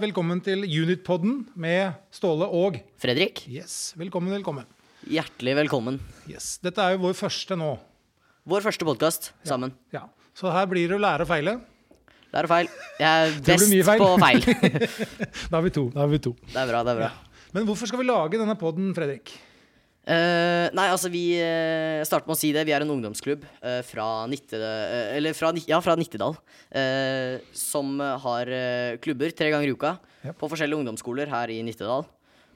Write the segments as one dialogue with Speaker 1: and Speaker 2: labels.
Speaker 1: velkommen til Unitpodden med Ståle og
Speaker 2: Fredrik,
Speaker 1: Yes, velkommen, velkommen.
Speaker 2: hjertelig velkommen.
Speaker 1: Yes, Dette er jo vår første nå.
Speaker 2: Vår første podkast sammen.
Speaker 1: Ja, Så her blir det å lære å feile.
Speaker 2: Det er feil. Jeg er
Speaker 1: Det
Speaker 2: best
Speaker 1: blir mye feil.
Speaker 2: på feil. Det
Speaker 1: Da er vi to. da er vi to.
Speaker 2: er bra, det er bra.
Speaker 1: Men hvorfor skal vi lage denne podden, Fredrik?
Speaker 2: Eh, nei, altså, vi uh, starter med å si det. Vi er en ungdomsklubb eh, fra, Nitte, eh, eller fra, Ni- ja, fra Nittedal. eh, som eh, har eh, klubber tre ganger i uka
Speaker 1: Ja.
Speaker 2: på forskjellige ungdomsskoler her i Nittedal.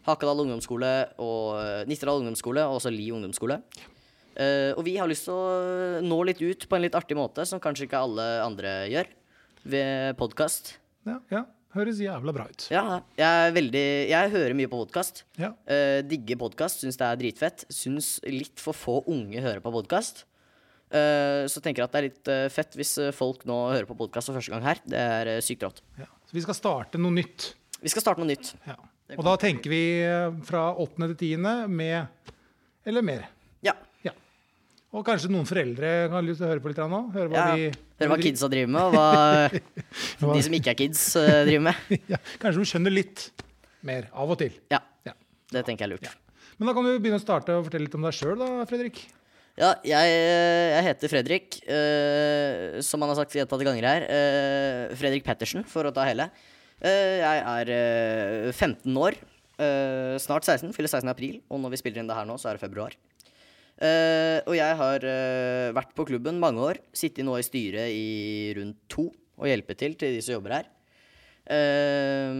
Speaker 2: Hakkadal ungdomsskole og eh, Nittedal ungdomsskole og også Li ungdomsskole. Eh, og vi har lyst til å eh, nå litt ut på en litt artig måte, som kanskje ikke alle andre gjør, ved podkast.
Speaker 1: Ja, ja, Høres jævla bra ut.
Speaker 2: Ja, jeg er veldig Jeg hører mye på podkast.
Speaker 1: Ja.
Speaker 2: Eh, digger podkast, syns det er dritfett. Syns litt for få unge hører på podkast. så tenker jeg at det er litt eh, fett hvis eh, folk nå hører på podkast for første gang her. Det er eh, sykt rått.
Speaker 1: Ja. Så vi skal starte noe nytt.
Speaker 2: Vi skal starte noe nytt.
Speaker 1: Ja. Og da tenker vi eh, fra åttende til tiende med eller mer.
Speaker 2: Ja.
Speaker 1: Ja. Og kanskje noen foreldre har lyst til å høre på litt grann nå? Høre hva
Speaker 2: ja.
Speaker 1: de
Speaker 2: Høre hva
Speaker 1: de-
Speaker 2: kidsa driver med, og hva
Speaker 1: Hva-
Speaker 2: de som ikke er kids, eh, driver med.
Speaker 1: ja, Kanskje de skjønner litt mer av og til.
Speaker 2: Ja,
Speaker 1: Ja.
Speaker 2: det tenker jeg er lurt.
Speaker 1: Men da kan du begynne å starte og fortelle litt om deg sjøl, da, Fredrik.
Speaker 2: Ja, jeg, jeg heter Fredrik, eh, som han har sagt gjentatte ganger her. eh, Fredrik Pettersen, for å ta hele. Eh, jeg er eh, 15 år. eh, snart 16. Fyller 16 i april. Og når vi spiller inn det her nå, så er det februar. Eh, og jeg har eh, vært på klubben mange år. Sittet nå i styret i rundt to og hjulpet til til de som jobber her. Eh,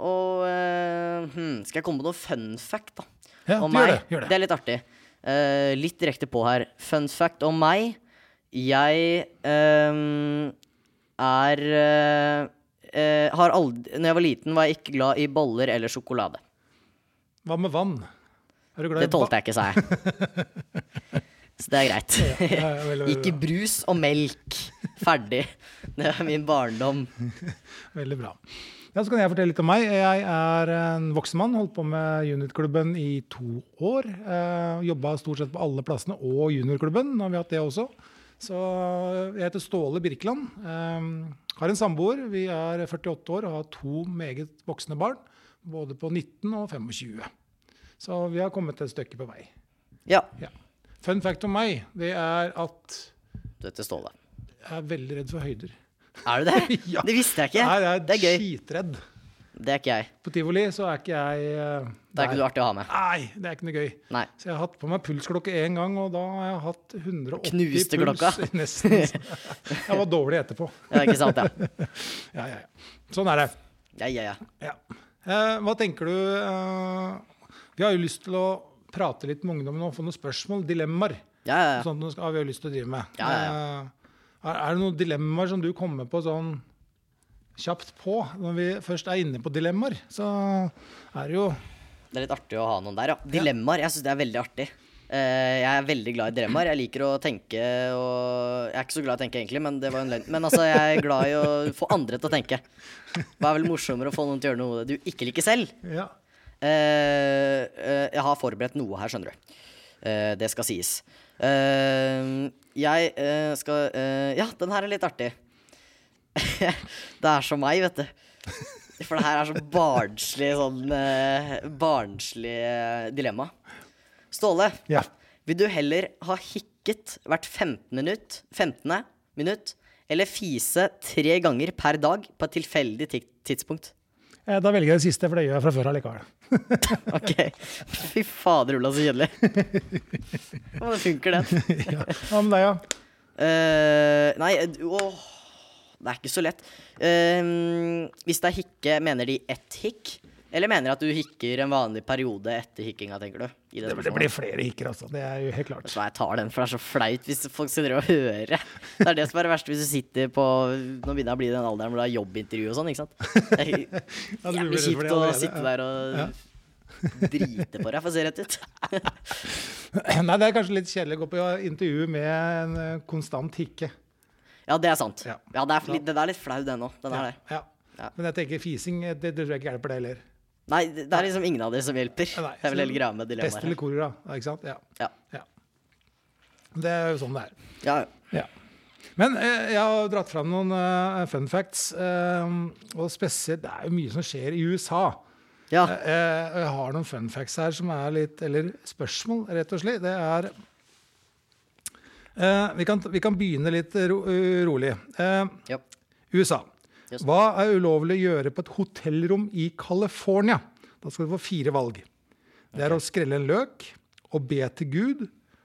Speaker 2: og eh, hmm, skal jeg komme på noe fun fact, da?
Speaker 1: Ja,
Speaker 2: om
Speaker 1: gjør
Speaker 2: meg?
Speaker 1: det, gjør det.
Speaker 2: er litt artig. Eh, litt direkte på her. Fun fact om meg. Jeg eh, er eh, eh, har aldri, Når jeg var liten, var jeg ikke glad i boller eller sjokolade.
Speaker 1: Hva med vann? Er du glad i
Speaker 2: Det tålte jeg ikke, sa jeg. Så det er greit. Ikke brus og melk. Ferdig. Det er min barndom.
Speaker 1: Veldig bra. Ja, så kan jeg fortelle litt om meg. Jeg er en voksen mann, holdt på med juniorklubben i to år. Eh, Jobba stort sett på alle plassene og juniorklubben, har vi hatt det også. Så eh, jeg heter Ståle Birkeland. Eh, har en samboer. Vi er 48 år og har to meget voksne barn. Både på 19 og 25. Så vi har kommet et stykke på vei.
Speaker 2: Ja,
Speaker 1: Ja. Fun fact om meg, det er at
Speaker 2: dette står det.
Speaker 1: jeg er veldig redd for høyder.
Speaker 2: Er du det?
Speaker 1: Ja.
Speaker 2: Det visste
Speaker 1: Nei,
Speaker 2: jeg ikke.
Speaker 1: jeg er
Speaker 2: Det er gøy.
Speaker 1: skitredd.
Speaker 2: Det er ikke jeg.
Speaker 1: På tivoli så er ikke jeg eh,
Speaker 2: Det er ikke
Speaker 1: der.
Speaker 2: noe artig å ha med.
Speaker 1: Nei, det er ikke noe gøy.
Speaker 2: Nei.
Speaker 1: Så jeg har hatt på meg pulsklokke én gang, og da har jeg hatt 180
Speaker 2: Knuste
Speaker 1: puls.
Speaker 2: klokka.
Speaker 1: Nesten. Jeg var dårlig etterpå.
Speaker 2: Ja, ikke sant, ja.
Speaker 1: Ja, ja, ja. Sånn er det.
Speaker 2: Ja, ja, ja.
Speaker 1: Ja. Eh, hva tenker du eh, Vi har jo lyst til å prate litt med ungdommen og få noen spørsmål, dilemmaer.
Speaker 2: ja, ja, ja.
Speaker 1: Sånt noe Sånn, skal, vi har lyst til å drive med.
Speaker 2: Ja, ja,
Speaker 1: Eh, er, er det noen dilemmaer som du kommer på sånn kjapt på? Når vi først er inne på dilemmaer, så er det jo
Speaker 2: Det er litt artig å ha noen der, ja. Dilemmaer. Jeg syns det er veldig artig. Eh, jeg er veldig glad i dilemmaer. Jeg liker å tenke og Jeg er ikke så glad i å tenke, egentlig, men det var en løgn. Men altså, jeg er glad i å få andre til å tenke. Hva er vel morsommere å få noen til å gjøre noe du ikke liker selv?
Speaker 1: Ja.
Speaker 2: Eh, eh, jeg har forberedt noe her, skjønner du. Eh, det skal sies. Eh, jeg eh, skal eh, Ja, den her er litt artig. det er som meg, vet du. For det her er så barnslig sånn eh, barnslig eh, dilemma. Ståle,
Speaker 1: ja.
Speaker 2: vil du heller ha hikket hvert 15. minutt, 15. minutt eller fise tre ganger per dag på et tilfeldig ti- tidspunkt?
Speaker 1: Eh, Da velger jeg det siste, for det gjør jeg fra før allikevel.
Speaker 2: Ok. Fy fader, Ulla, så kjedelig. Hvordan funker den?
Speaker 1: ja. Hva med deg, ja?
Speaker 2: Eh, nei, du- åh. Det er ikke så lett. Eh, hvis det er hikke, mener de ett hikk? Eller mener at du hikker en vanlig periode etter hikkinga, tenker du?
Speaker 1: Det,
Speaker 2: I det
Speaker 1: det
Speaker 2: spørsmålet?
Speaker 1: blir flere hikker, altså. Det er jo helt klart.
Speaker 2: Så jeg tar den, for det er så flaut hvis folk skal drive og høre. Det er det som er det verste hvis du sitter på Nå begynner jeg å bli i den alderen hvor det er jobbintervju og sånn, ikke sant.
Speaker 1: Ja,
Speaker 2: Det er
Speaker 1: du blir
Speaker 2: jævlig
Speaker 1: redd for det
Speaker 2: kjipt å
Speaker 1: allerede,
Speaker 2: sitte der og drite på deg, for å se rett ut.
Speaker 1: Nei, det er kanskje litt kjedelig å gå på intervju med en eh, konstant hikke.
Speaker 2: Ja, det er sant.
Speaker 1: Ja.
Speaker 2: Ja, det, er, litt- den er litt flau, den òg. Den er det.
Speaker 1: Ja.
Speaker 2: Ja.
Speaker 1: Men jeg tenker fising, eh, det, det tror jeg ikke hjelper det heller.
Speaker 2: Nei, det det er liksom ingen av dere som hjelper.
Speaker 1: Nei,
Speaker 2: Det er vel
Speaker 1: så
Speaker 2: hele greia med
Speaker 1: Pest eller
Speaker 2: dilemmaet. her.
Speaker 1: kolera, ikke sant? Ja.
Speaker 2: Ja.
Speaker 1: ja. Det er jo sånn det er.
Speaker 2: Ja.
Speaker 1: Ja. Men eh, jeg har dratt fram noen eh, fun facts. Eh, og spesielt, det er jo mye som skjer i USA.
Speaker 2: Ja.
Speaker 1: Eh, eh, og jeg har noen fun facts her som er litt Eller spørsmål, rett og slett. Det er eh, vi, kan, vi kan begynne litt ro, rolig. Eh,
Speaker 2: ja.
Speaker 1: USA.
Speaker 2: Yes.
Speaker 1: Hva er ulovlig å gjøre på et hotellrom i California? Da skal du få fire valg. Det er å skrelle en løk, å be til Gud,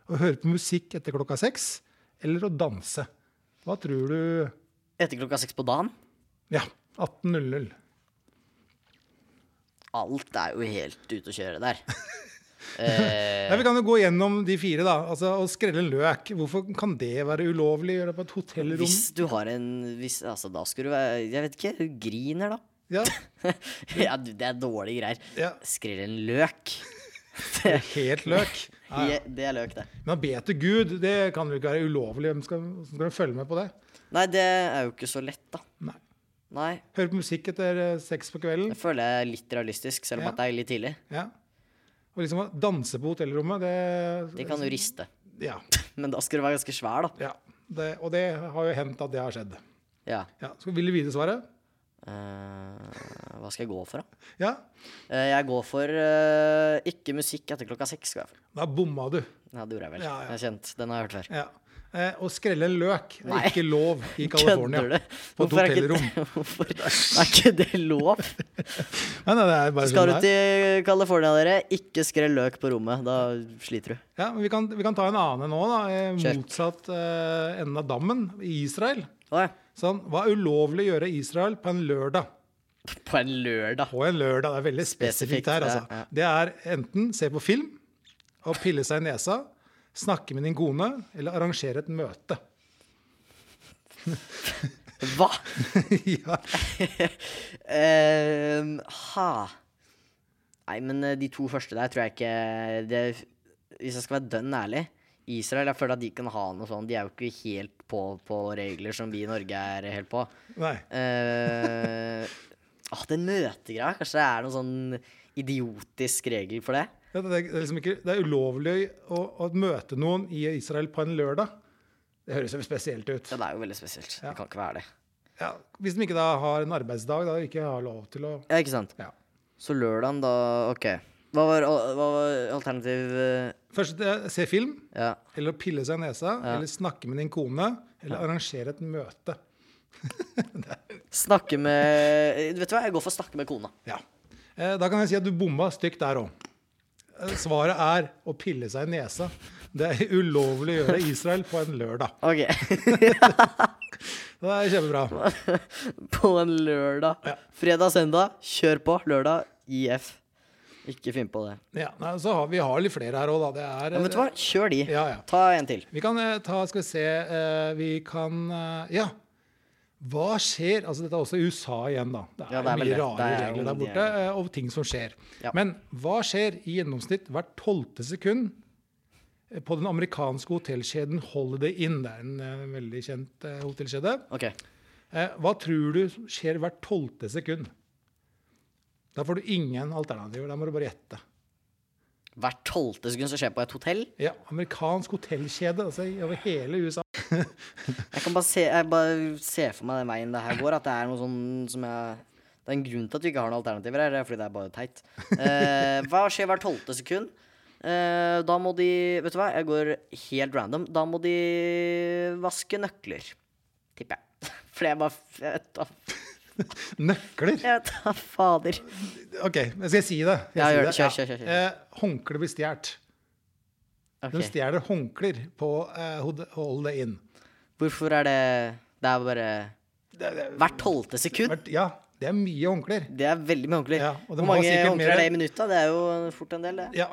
Speaker 1: å høre på musikk etter klokka seks, eller å danse. Hva tror du
Speaker 2: Etter klokka seks på dagen.
Speaker 1: Ja, 18.00.
Speaker 2: Alt er jo helt ute å kjøre der. Eh,
Speaker 1: Ja, vi kan jo gå gjennom de fire, da. Altså, Å skrelle en løk, hvorfor kan det være ulovlig å gjøre på et hotellrom?
Speaker 2: hvis du har en hvis, Altså, da skulle du være Jeg vet ikke. du Griner, da.
Speaker 1: Ja,
Speaker 2: ja, du, det er dårlige greier.
Speaker 1: Ja.
Speaker 2: Skrill en løk.
Speaker 1: Helt løk. Ja, ja.
Speaker 2: Je- Det er løk, det.
Speaker 1: Men å be til Gud, det kan jo ikke være ulovlig. Hvem skal, hvordan skal de følge med på det?
Speaker 2: Nei, det er jo ikke så lett, da.
Speaker 1: Nei.
Speaker 2: Nei.
Speaker 1: Høre på musikk etter eh, seks på kvelden?
Speaker 2: Jeg føler jeg er litt realistisk, selv om
Speaker 1: Ja.
Speaker 2: at det er litt tidlig.
Speaker 1: Ja. Og liksom å danse på hotellrommet, det
Speaker 2: Det kan jo riste.
Speaker 1: Ja.
Speaker 2: Men da skal du være ganske svær, da.
Speaker 1: ja. Det, og det har jo hendt at det har skjedd.
Speaker 2: Ja.
Speaker 1: Ja. Så vil du vite svaret?
Speaker 2: Eh, hva skal jeg gå for, da?
Speaker 1: Ja?
Speaker 2: Eh, jeg går for eh, ikke musikk etter klokka seks. Skal jeg for.
Speaker 1: Da bomma du.
Speaker 2: Ja, det gjorde jeg vel.
Speaker 1: Ja, ja.
Speaker 2: Jeg er kjent. Den har jeg hørt før.
Speaker 1: Ja. Eh, å skrelle en løk er
Speaker 2: Nei.
Speaker 1: ikke lov i California.
Speaker 2: du?
Speaker 1: På et
Speaker 2: Hvorfor er ikke-
Speaker 1: hotellrom.
Speaker 2: Hvorfor er ikke det lov?
Speaker 1: Nei, nei, det er bare
Speaker 2: Skal du
Speaker 1: sånn det er.
Speaker 2: til California, dere, ikke skrell løk på rommet. Da sliter du.
Speaker 1: Ja, men vi, kan, vi kan ta en annen nå, da. Eh,
Speaker 2: Kjør.
Speaker 1: Motsatt eh, enden av dammen, i Israel.
Speaker 2: Å ja.
Speaker 1: Sånn, hva er ulovlig å gjøre i Israel på en lørdag?
Speaker 2: På en lørdag.
Speaker 1: På en lørdag. Det er veldig spesifikt
Speaker 2: Spesifikt,
Speaker 1: her,
Speaker 2: ja,
Speaker 1: altså. Det er enten se på film og pille seg i nesa, snakke med din kone eller arrangere et møte.
Speaker 2: Hva?
Speaker 1: ja.
Speaker 2: Ehm, ha. Nei, men eh, de to første der tror jeg ikke det, Hvis jeg skal være dønn ærlig Israel, jeg føler at de kan ha noe sånn. De er jo ikke helt på på regler som vi i Norge er helt på.
Speaker 1: Nei.
Speaker 2: Eh, ah, den møtegreia. Kanskje det er noen sånn idiotisk regel for det?
Speaker 1: Det er, det er liksom ikke, det er ulovlig å, å møte noen i Israel på en lørdag. Det høres jo spesielt ut.
Speaker 2: Ja, det er jo veldig spesielt. Det kan ikke være det.
Speaker 1: Ja, hvis de ikke da har en arbeidsdag, da ikke har lov til å
Speaker 2: Ja, ikke sant?
Speaker 1: ja.
Speaker 2: Så lørdagen, da OK. Hva var, hva var alternativ eh,
Speaker 1: Først eh, se film,
Speaker 2: Ja.
Speaker 1: eller å pille seg i nesa, eller snakke med din kone, eller arrangere et møte.
Speaker 2: Snakke med Vet du hva, jeg går for å snakke med kona.
Speaker 1: Ja. Eh, Da kan jeg si at du bomma stygt der òg. Svaret er å pille seg i nesa. Det er ulovlig å gjøre i Israel på en lørdag.
Speaker 2: OK.
Speaker 1: Det er kjempebra.
Speaker 2: på en lørdag. Fredag, søndag. Kjør på. Lørdag, IF. Ikke finn på det.
Speaker 1: Ja, nei, så har, vi har litt flere her òg, da. Det er
Speaker 2: Ja, vet du hva, kjør de.
Speaker 1: Ja, ja.
Speaker 2: Ta en til.
Speaker 1: Vi kan eh, ta Skal vi se eh, Vi kan eh, Ja. Hva skjer Altså, dette er også USA igjen, da. Det er,
Speaker 2: Ja, det er vel
Speaker 1: mye
Speaker 2: det.
Speaker 1: rare
Speaker 2: Det er jo
Speaker 1: regler der
Speaker 2: de
Speaker 1: borte, eh, og ting som skjer.
Speaker 2: Ja.
Speaker 1: Men hva skjer i gjennomsnitt hvert tolvte sekund eh, på den amerikanske hotellkjeden Holiday Inn? Det er en eh, veldig kjent eh, hotellkjede.
Speaker 2: OK.
Speaker 1: Eh, hva tror du skjer hvert tolvte sekund? Da får du ingen alternativer. Da må du bare gjette.
Speaker 2: Hvert tolvte sekund som skjer på et hotell.
Speaker 1: Ja, amerikansk hotellkjede altså, i- over hele USA.
Speaker 2: Jeg kan bare se, jeg bare ser for meg den veien det her går, at det er noe sånn som jeg Det er en grunn til at vi ikke har noen alternativer her, det er fordi det er bare teit. Eh, hva skjer hvert tolvte sekund? Eh, da må de Vet du hva, jeg går helt random. Da må de vaske nøkler. Tipper jeg. For jeg bare Jeg vet da
Speaker 1: Nøkler!
Speaker 2: jeg vet da fader.
Speaker 1: OK, men skal jeg si det? Skal Jeg
Speaker 2: Ja, gjør
Speaker 1: si
Speaker 2: det. Kjør, kjør, kjør, kjør.
Speaker 1: Eh, håndkle blir stjålet. De
Speaker 2: Ok.
Speaker 1: stjeler håndklær på eh, hod- Hold det inn.
Speaker 2: Hvorfor er det Det er bare Hvert tolvte sekund?
Speaker 1: Hvert- Ja, det er mye håndklær.
Speaker 2: Det er veldig mye håndklær.
Speaker 1: Ja, og de
Speaker 2: Hvor
Speaker 1: har
Speaker 2: mange
Speaker 1: sikkert
Speaker 2: håndklær
Speaker 1: mer-
Speaker 2: er det i minutta? Det er jo fort en del, det.
Speaker 1: Ja.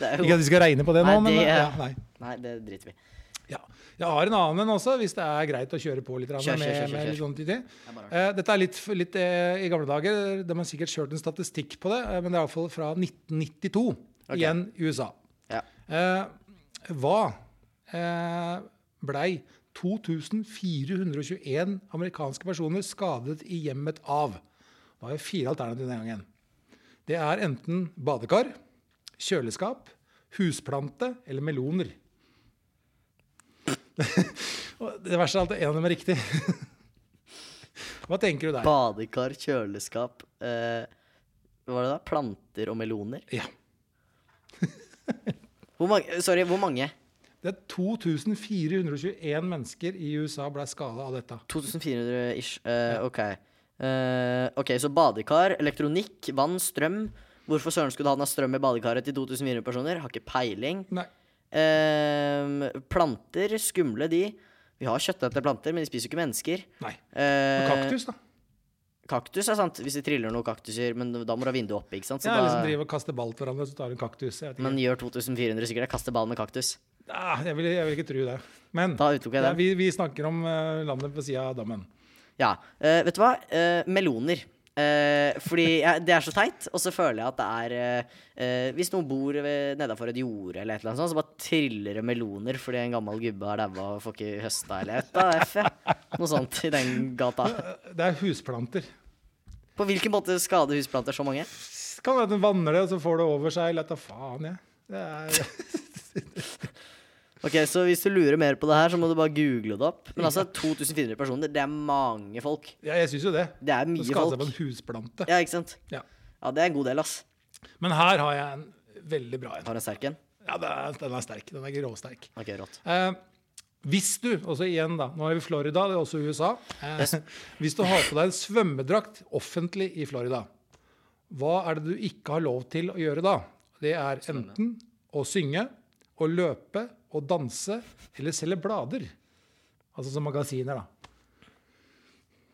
Speaker 2: det er
Speaker 1: Ikke
Speaker 2: jo,
Speaker 1: at vi skal regne på det nå,
Speaker 2: Nei,
Speaker 1: men
Speaker 2: det
Speaker 1: ja,
Speaker 2: er-
Speaker 1: nei.
Speaker 2: nei, det driter vi i.
Speaker 1: Ja. Jeg har en annen en også, hvis det er greit å kjøre på litt. grann
Speaker 2: Kjør, kjør,
Speaker 1: med,
Speaker 2: kjør, kjør,
Speaker 1: med litt sånn tid.
Speaker 2: Jeg bare-
Speaker 1: Eh, dette er litt, f- litt eh, i gamle dager. De har sikkert kjørt en statistikk på det, eh, men det er iallfall fra 1992.
Speaker 2: Ok.
Speaker 1: Igjen USA.
Speaker 2: Ja.
Speaker 1: Eh, hva eh, blei 2421 amerikanske personer skadet i hjemmet av? Det var jo fire alternativer den gangen. Det er enten badekar, kjøleskap, husplante eller meloner. Og Det verste er at en av dem er riktig. Hva tenker du der?
Speaker 2: Badekar, kjøleskap eh, Hva var det da? Planter og meloner?
Speaker 1: Ja.
Speaker 2: Hvor mange? Sorry, hvor mange?
Speaker 1: Det er 2421 mennesker i USA ble skada av dette.
Speaker 2: 2400 ish. Eh, ok. Eh, ok, så badekar, elektronikk, vann, strøm. Hvorfor søren skulle du ha den av strøm i badekaret til 2400 personer? Har ikke peiling.
Speaker 1: Nei.
Speaker 2: Eh, planter, skumle de. Vi har kjøttetende planter, men de spiser jo ikke mennesker.
Speaker 1: Nei.
Speaker 2: Eh,
Speaker 1: Kaktus, da.
Speaker 2: Kaktus er sant, hvis de triller noen kaktuser, men da må du ha vinduet oppe, ikke sant? Så
Speaker 1: Ja,
Speaker 2: da,
Speaker 1: liksom driver og kaster ball til hverandre, så tar du en kaktus. Jeg, vet ikke.
Speaker 2: Men gjør 2400 sikkert det, kaster ballen med kaktus.
Speaker 1: ah, jeg, vil, jeg vil ikke tro det. Men
Speaker 2: Da utelukker jeg
Speaker 1: ja,
Speaker 2: den.
Speaker 1: vi, vi snakker om eh, landet ved sida av dammen.
Speaker 2: Ja. eh, vet du hva? Eh, meloner. Eh, fordi jeg, det er så teit, og så føler jeg at det er eh, eh, Hvis noen bor ved- nedenfor et jorde eller et eller annet sånt, så bare triller det meloner fordi en gammel gubbe har daua og får ikke høsta eller et eller annet, F, ja. Noe sånt i den gata.
Speaker 1: Eh, Det er husplanter.
Speaker 2: På hvilken måte skader husplanter så mange?
Speaker 1: Det Kan være at den vanner det, og så får det over seg. Eller at da faen, jeg. Det er,
Speaker 2: Ok, Så hvis du lurer mer på det her, så må du bare google det opp. Men altså, 2400 personer, det er mange folk.
Speaker 1: ja, jeg syns jo det.
Speaker 2: Det er
Speaker 1: Så
Speaker 2: mye
Speaker 1: skade seg på
Speaker 2: folk.
Speaker 1: en husplante.
Speaker 2: Ja, ikke sant?
Speaker 1: Ja.
Speaker 2: Ja, det er en god del, ass.
Speaker 1: Men her har jeg en veldig bra en.
Speaker 2: Har en sterk en?
Speaker 1: Ja, det er, den er sterk. Den er gråsterk.
Speaker 2: Ok, rått.
Speaker 1: Eh, hvis du, også igjen da, nå er vi i Florida, det er også USA. Eh, Hvis du har på deg en svømmedrakt offentlig i Florida, hva er det du ikke har lov til å gjøre da? Det er enten å synge, å løpe, å danse eller selge blader. Altså som magasiner, da.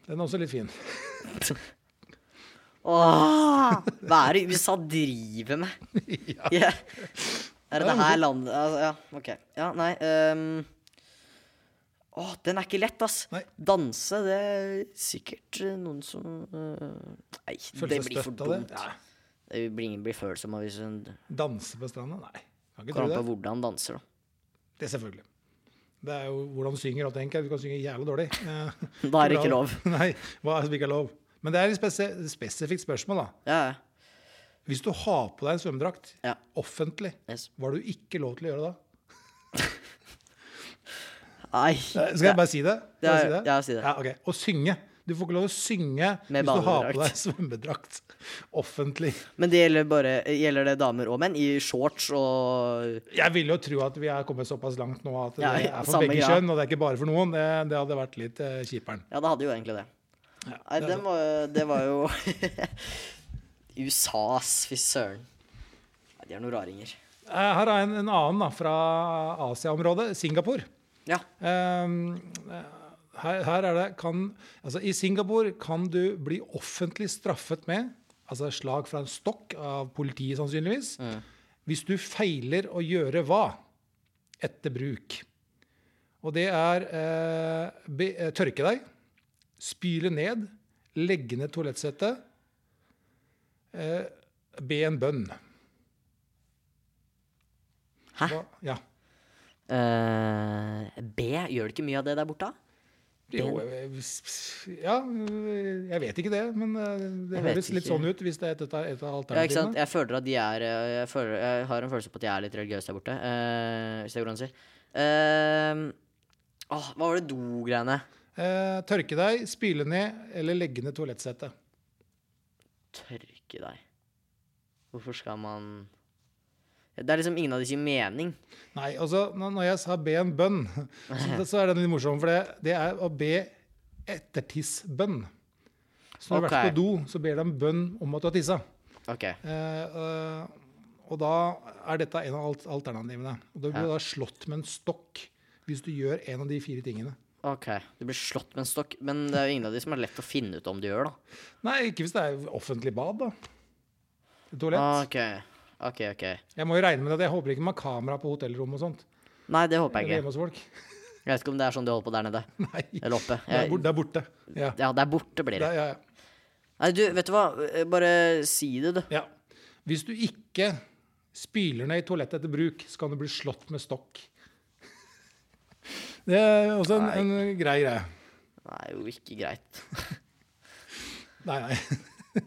Speaker 1: Den er også litt fin. Ah!
Speaker 2: Åh, hva er det USA driver med? Ja. Er det det her landet altså, Ja, OK. Ja, nei ehm. Åh, den er ikke lett, ass.
Speaker 1: Nei.
Speaker 2: Danse, det er sikkert eh, noen som eh, Nei, det
Speaker 1: Føler seg
Speaker 2: blir for
Speaker 1: støtt av det.
Speaker 2: dumt.
Speaker 1: Nei.
Speaker 2: Det blir ingen blir følsom av hvis hun
Speaker 1: Danse på stranda? Nei. Kan ikke
Speaker 2: kommer
Speaker 1: tro
Speaker 2: an på
Speaker 1: det.
Speaker 2: hvordan han danser, da.
Speaker 1: Det er selvfølgelig. Det er jo hvordan du synger og tenker. Du kan synge jævla dårlig. Eh,
Speaker 2: Da er det ikke lov.
Speaker 1: Nei, hva er det ikke er lov? Men det er et spesi spesifikt spørsmål, da.
Speaker 2: Ja, ja.
Speaker 1: Hvis du har på deg en svømmedrakt
Speaker 2: Ja.
Speaker 1: offentlig,
Speaker 2: Yes.
Speaker 1: hva har du ikke lov til å gjøre da?
Speaker 2: Nei.
Speaker 1: Eh, Skal jeg bare si det? Skal jeg
Speaker 2: Ja, ja, si det.
Speaker 1: Ja, ok. Og synge. Du får ikke lov å synge
Speaker 2: Med
Speaker 1: hvis du har
Speaker 2: badedrakt.
Speaker 1: på deg svømmedrakt offentlig.
Speaker 2: Men det gjelder bare Gjelder det damer og menn? I shorts og
Speaker 1: Jeg ville jo tro at vi er kommet såpass langt nå at det
Speaker 2: Ja, ja,
Speaker 1: er for
Speaker 2: samme
Speaker 1: begge
Speaker 2: greia.
Speaker 1: kjønn, og det er ikke bare for noen. Det, det hadde vært litt eh, kjiperen.
Speaker 2: Ja, det hadde jo egentlig det. Nei,
Speaker 1: det er
Speaker 2: den var, det var jo USA, ass. Fy søren. Nei, De er noen raringer.
Speaker 1: Eh, Her er en, en annen da, fra Asia-området, Singapore.
Speaker 2: Ja.
Speaker 1: Ehm, her, her er det kan, altså I Singapore kan du bli offentlig straffet med altså slag fra en stokk av politiet sannsynligvis, hvis du feiler å gjøre hva etter bruk. Og det er eh, be, eh, tørke deg, spyle ned, legge ned toalettsettet, eh, be en bønn.
Speaker 2: Hæ?
Speaker 1: Hva- Ja.
Speaker 2: Eh, B, gjør det ikke mye av det der borte? da?
Speaker 1: Jo, jeg- jeg- ja, jeg vet ikke det, men eh, det
Speaker 2: Jeg vet
Speaker 1: høres litt
Speaker 2: ikke.
Speaker 1: sånn ut hvis det er et, av- et av
Speaker 2: Ja, ikke
Speaker 1: alternativene.
Speaker 2: sant? Jeg føler at de er eh, jeg, føler, jeg har en følelse på at de er litt religiøse der borte. eh, hvis det går an å si. Eh, åh, hva var det do-greiene?
Speaker 1: Eh, tørke deg, spyle ned eller legge ned toalettsettet.
Speaker 2: Tørke deg. Hvorfor skal man Det er liksom ingen av de som gir mening.
Speaker 1: Nei, altså, når når jeg sa be en bønn, så, så er den litt morsom, for det, det er å be ettertissbønn. Så når du har vært
Speaker 2: Ok.
Speaker 1: på do, så ber du en bønn om at du har tissa.
Speaker 2: Ok.
Speaker 1: Eh, eh, og da er dette en av alt- alternativene. Og da blir du da slått med en stokk hvis du gjør en av de fire tingene.
Speaker 2: Ok, Du blir slått med en stokk, men det er jo ingen av de som er lett å finne ut om du gjør, da.
Speaker 1: Nei, ikke hvis det er offentlig bad, da. Et Toalett.
Speaker 2: Ok, ok, ok.
Speaker 1: Jeg må jo regne med det. at Jeg håper ikke man har kamera på hotellrom og sånt.
Speaker 2: Nei, det håper
Speaker 1: Eller
Speaker 2: jeg ikke.
Speaker 1: hjemme hos folk.
Speaker 2: Jeg vet ikke om det er sånn de holder på der nede.
Speaker 1: Nei. Det
Speaker 2: Eller oppe.
Speaker 1: er, bort,
Speaker 2: Jeg,
Speaker 1: det er borte. Ja.
Speaker 2: ja, der borte blir
Speaker 1: Det
Speaker 2: det.
Speaker 1: er, ja, ja.
Speaker 2: Nei, du, vet du hva? Bare si det, du.
Speaker 1: ja. Hvis du ikke spyler ned i toalettet etter bruk, så kan du bli slått med stokk. Det er også en, en grei greie.
Speaker 2: Det er jo ikke greit.
Speaker 1: Nei, nei.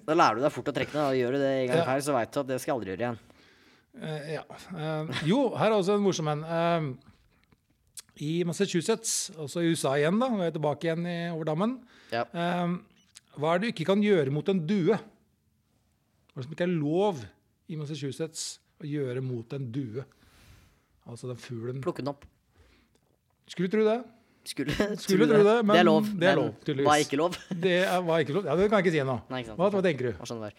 Speaker 2: Da lærer du deg fort å trekke ned. og Gjør du det en gang
Speaker 1: Ja.
Speaker 2: feil, så veit du at det skal jeg aldri gjøre igjen.
Speaker 1: Eh, ja. Eh, jo, her er også en morsom en. Eh, i Massachusetts, altså i USA igjen, da, når jeg er tilbake igjen i, over dammen.
Speaker 2: Ja.
Speaker 1: Ehm, hva er det du ikke kan gjøre mot en due? Hva er det som ikke er lov i Massachusetts å gjøre mot en due? Altså den fuglen
Speaker 2: Plukke den opp.
Speaker 1: Skulle tro det.
Speaker 2: Skulle,
Speaker 1: Skulle tro det, men
Speaker 2: det er lov.
Speaker 1: det er
Speaker 2: men
Speaker 1: lov, tydeligvis.
Speaker 2: Hva er ikke lov?
Speaker 1: Det er, var ikke lov. Ja, det kan jeg ikke si ennå.
Speaker 2: Nei, ikke sant.
Speaker 1: Hva, hva tenker du?
Speaker 2: Hva skjønner du?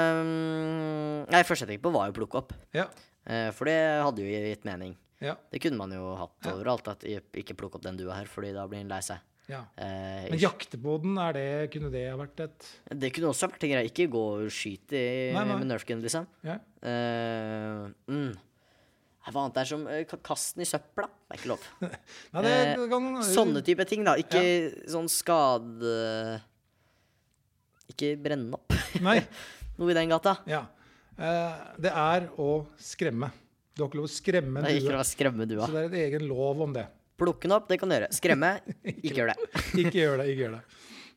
Speaker 2: Ehm, nei, første jeg tenkte på, var jo plukke opp.
Speaker 1: Ja,
Speaker 2: Eh, for det hadde jo gitt mening.
Speaker 1: ja,
Speaker 2: Det kunne man jo hatt overalt. At i- ikke plukke opp den dua her, fordi da blir den lei seg.
Speaker 1: ja.
Speaker 2: Eh,
Speaker 1: Men jakte på den, er det, kunne det ha vært et
Speaker 2: Det kunne også vært en greie. Ikke gå og skyte i-
Speaker 1: Nei, nei.
Speaker 2: med Nerf gun, liksom.
Speaker 1: ja.
Speaker 2: Eh, mm. Nei, Hva annet er som eh, ka- Kast den i søpla. Det er ikke lov.
Speaker 1: Nei, det,
Speaker 2: Eh,
Speaker 1: det kan
Speaker 2: Sånne type ting, da. Ikke sånn skade Ikke brenne opp.
Speaker 1: Nei.
Speaker 2: Noe i den gata.
Speaker 1: Ja. Eh, det er å skremme. Du har ikke lov å skremme en
Speaker 2: Det er ikke
Speaker 1: due.
Speaker 2: lov å skremme dua.
Speaker 1: Så det er et egen lov om det.
Speaker 2: Plukke den opp, det kan du gjøre. Skremme, ikke gjør det.
Speaker 1: Ikke gjør det. ikke gjør Det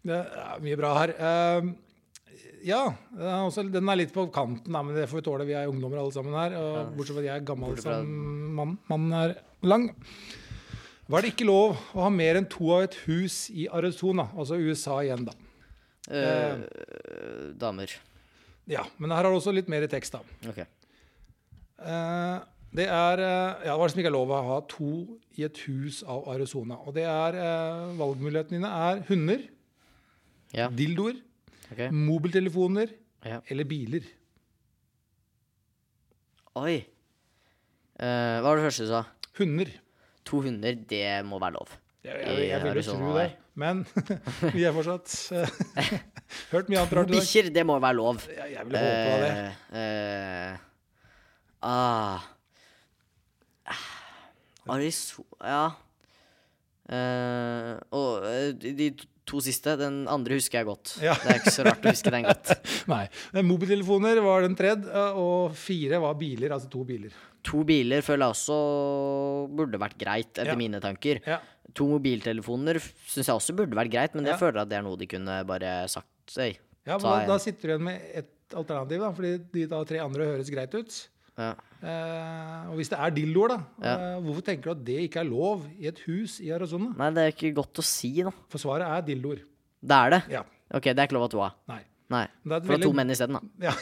Speaker 1: Det er mye bra her. Eh, ja, den er, også, den er litt på kanten, da, men det får vi tåle. Vi er ungdommer alle sammen her. Og bortsett fra at jeg er gammel
Speaker 2: Bortsett fra-
Speaker 1: som mann. Mannen er lang. Var det ikke lov å ha mer enn to av et hus i Arizona, altså USA igjen, da?
Speaker 2: Eh, damer.
Speaker 1: Ja, men her har du også litt mer tekst, da.
Speaker 2: Ok.
Speaker 1: Eh, det er eh, ja, Hva er det som ikke er lov å ha to i et hus av Arizona? Og det er eh, Valgmulighetene dine er hunder,
Speaker 2: Ja.
Speaker 1: dildoer,
Speaker 2: ok.
Speaker 1: mobiltelefoner
Speaker 2: Ja.
Speaker 1: eller biler.
Speaker 2: Oi. Eh, hva var det første du sa?
Speaker 1: Hunder.
Speaker 2: To hunder, det må være lov.
Speaker 1: Jeg,
Speaker 2: I
Speaker 1: jeg, jeg vil jo tro
Speaker 2: Arizona
Speaker 1: det,
Speaker 2: der.
Speaker 1: men vi er fortsatt eh, Hørt mye annet rart i dag.
Speaker 2: Bikkjer, det må være lov.
Speaker 1: Jeg, jeg ville håpe det.
Speaker 2: Eh, eh, ah. Arizo... Ja. Eh, og eh, de de to siste. Den andre husker jeg godt.
Speaker 1: Ja.
Speaker 2: Det er ikke så rart å huske den godt.
Speaker 1: Nei. Men Mobiltelefoner var den tredje, eh, og fire var biler, altså to biler.
Speaker 2: To biler føler jeg også burde vært greit, etter
Speaker 1: Ja.
Speaker 2: mine tanker.
Speaker 1: Ja.
Speaker 2: To mobiltelefoner syns jeg også burde vært greit, men jeg
Speaker 1: Ja.
Speaker 2: føler at det er noe de kunne bare sagt. Øy.
Speaker 1: Ja, men
Speaker 2: Ta
Speaker 1: da,
Speaker 2: en.
Speaker 1: da sitter du igjen med et alternativ, da, fordi de da tre andre høres greit ut.
Speaker 2: Ja.
Speaker 1: Eh, og hvis det er dildoer, da,
Speaker 2: Ja.
Speaker 1: eh, hvorfor tenker du at det ikke er lov i et hus i Arizona?
Speaker 2: Nei, det er ikke godt å si, da.
Speaker 1: For svaret er dildoer.
Speaker 2: Det er det.
Speaker 1: Ja.
Speaker 2: Ok, det er ikke lov at du har.
Speaker 1: Nei.
Speaker 2: Nei.
Speaker 1: Men det er et
Speaker 2: For det er to
Speaker 1: veldig-
Speaker 2: menn isteden, da.
Speaker 1: Ja.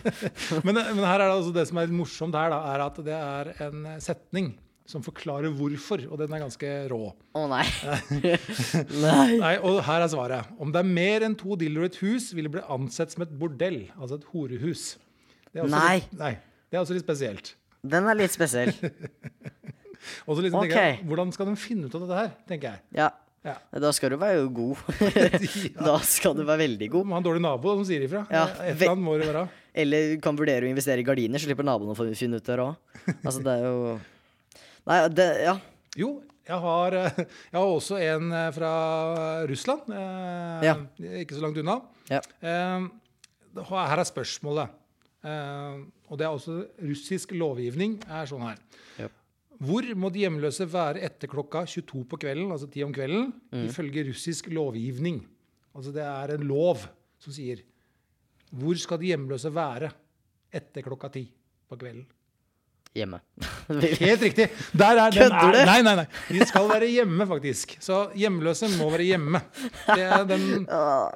Speaker 1: men, det- men her er det altså det som er litt morsomt her, da, er at det er en setning som forklarer hvorfor, og den er ganske rå.
Speaker 2: Å nei. nei.
Speaker 1: Nei, og her er svaret. Om det er mer enn to dildoer i et hus, vil det bli ansett som et bordell, altså et horehus. Det er også
Speaker 2: Nei.
Speaker 1: Litt, nei. Det er også litt spesielt.
Speaker 2: Den er litt spesiell.
Speaker 1: Og så liksom tenker jeg,
Speaker 2: Ok.
Speaker 1: Hvordan skal de finne ut av dette her, tenker jeg.
Speaker 2: Ja.
Speaker 1: Ja.
Speaker 2: Da skal du være god. da skal du være veldig god.
Speaker 1: Må ha en dårlig nabo da, som sier ifra.
Speaker 2: Ja,
Speaker 1: Et eller annet må det være.
Speaker 2: Eller kan vurdere å investere i gardiner, så slipper naboene å få finne ut av det òg. Altså, det er jo Nei, det Ja.
Speaker 1: Jo, jeg har, eh, jeg har også en eh, fra Russland. eh,
Speaker 2: Ja.
Speaker 1: Ikke så langt unna.
Speaker 2: ja.
Speaker 1: Eh, det- Her er spørsmålet. Eh, Og det er også russisk lovgivning er sånn her.
Speaker 2: Japp.
Speaker 1: Hvor må de hjemløse være etter klokka 22 på kvelden, altså 10 om kvelden,
Speaker 2: Mm.
Speaker 1: ifølge russisk lovgivning? Altså det er en lov som sier hvor skal de hjemløse være etter klokka 10 på kvelden?
Speaker 2: Hjemme.
Speaker 1: Helt riktig. Der er den
Speaker 2: Kødder
Speaker 1: er,
Speaker 2: du?
Speaker 1: Nei, nei, nei. De skal være hjemme, faktisk. Så hjemløse må være hjemme. Det er den uh,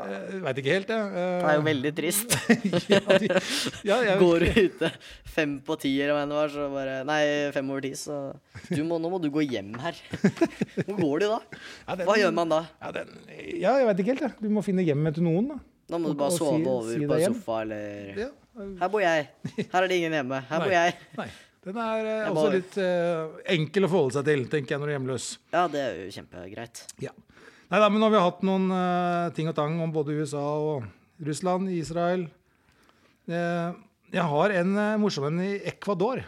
Speaker 1: Veit ikke helt, jeg. Eh,
Speaker 2: Det er jo veldig trist.
Speaker 1: ja, de, ja, jeg,
Speaker 2: Går du ute fem på ti, eller hva enn det var, så bare Nei, fem over ti, så du må, Nå må du gå hjem her. Hvor går du da?
Speaker 1: Ja, den-
Speaker 2: Hva gjør man da?
Speaker 1: Ja, den, ja, jeg veit ikke helt. Jeg. Du må finne hjemmet til noen. Da.
Speaker 2: Da må du
Speaker 1: Og- og si-
Speaker 2: bare sove over
Speaker 1: si
Speaker 2: på
Speaker 1: deg
Speaker 2: en
Speaker 1: hjem.
Speaker 2: sofa, eller
Speaker 1: Ja.
Speaker 2: Her bor jeg. Her er det ingen hjemme. Her bor
Speaker 1: Nei.
Speaker 2: jeg.
Speaker 1: Nei. Den er eh,
Speaker 2: Jeg
Speaker 1: også
Speaker 2: bare-
Speaker 1: litt eh, enkel å forholde seg til, tenker jeg, når du er hjemløs.
Speaker 2: Ja, det er jo kjempegreit.
Speaker 1: Ja. Nei da, men nå har vi hatt noen eh, ting og tang om både USA og Russland, Israel. Eh, jeg har en eh, morsom en i Ecuador.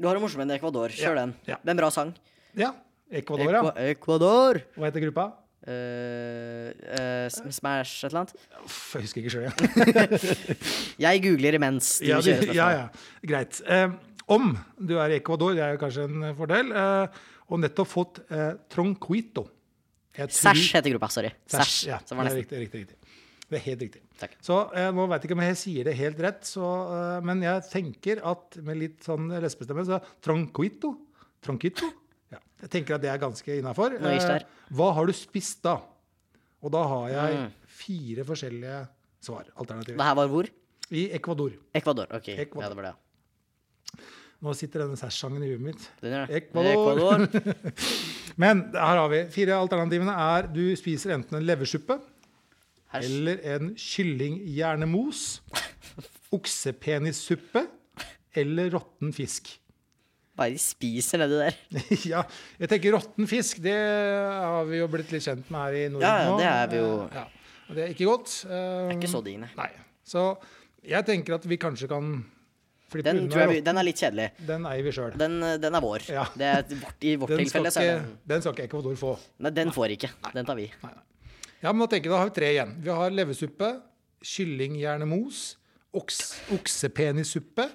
Speaker 2: Du har en morsom en i Ecuador. Kjør
Speaker 1: Ja,
Speaker 2: den.
Speaker 1: ja.
Speaker 2: Det er en bra sang.
Speaker 1: Ja, Ecuador, ja.
Speaker 2: Equa Ecuador!
Speaker 1: Hva heter gruppa?
Speaker 2: Eh, eh, sm- smash et eller annet.
Speaker 1: Uff, jeg husker ikke sjøl, jeg.
Speaker 2: Jeg googler imens. Du
Speaker 1: Ja,
Speaker 2: kjører
Speaker 1: du- ja,
Speaker 2: spørsmål.
Speaker 1: ja. Greit. Eh, om du er i Ecuador, det er jo kanskje en fordel, eh, og nettopp fått eh, tronquito. Jeg tror-
Speaker 2: Sash heter gruppa. Sorry. Sash.
Speaker 1: Ja,
Speaker 2: Som var
Speaker 1: det er
Speaker 2: nesten.
Speaker 1: riktig, riktig, riktig. Det er helt riktig.
Speaker 2: Takk.
Speaker 1: Så eh, nå veit jeg ikke om jeg sier det helt rett, så, eh, men jeg tenker at med litt sånn lesbestemme, så tronquito Tronquito? Ja, jeg tenker at det er ganske innafor. Eh,
Speaker 2: Noe ish der.
Speaker 1: hva har du spist da? Og da har jeg
Speaker 2: Mm.
Speaker 1: fire forskjellige svar. Alternativer.
Speaker 2: Det her var hvor?
Speaker 1: I Ecuador.
Speaker 2: Ecuador. Ok,
Speaker 1: Ecuador.
Speaker 2: ja, det var det. ja.
Speaker 1: Nå sitter denne sassangen i huet mitt.
Speaker 2: Den gjør det.
Speaker 1: Ecuador.
Speaker 2: Ecuador.
Speaker 1: Men her har vi. Fire alternativene er du spiser enten en leversuppe
Speaker 2: Her,
Speaker 1: eller en kyllinghjernemos, oksepenissuppe eller råtten fisk.
Speaker 2: bare de spiser nedi der.
Speaker 1: ja, jeg tenker råtten fisk, det har vi jo blitt litt kjent med her i Norden
Speaker 2: Ja, ja,
Speaker 1: nå.
Speaker 2: det er vi jo-
Speaker 1: Eh, Ja, og det er ikke godt. Eh,
Speaker 2: Det er ikke sånn.
Speaker 1: Mm.
Speaker 2: så digg, nei.
Speaker 1: Nei. Så jeg tenker at vi kanskje kan flippe
Speaker 2: Den,
Speaker 1: unna
Speaker 2: tror jeg, vi-
Speaker 1: råtten.
Speaker 2: den er litt kjedelig.
Speaker 1: Den eier vi sjøl.
Speaker 2: Den, eh, den er vår.
Speaker 1: Ja.
Speaker 2: Det er vårt, I vårt
Speaker 1: Den, skal
Speaker 2: tilfelle så er den
Speaker 1: ikke- den skal ikke Ecuador få.
Speaker 2: Nei, den får ikke. Den tar vi.
Speaker 1: Ja, men da tenker jeg, da har vi tre igjen. Vi har leversuppe, kyllinghjernemos, oks, oksepenissuppe,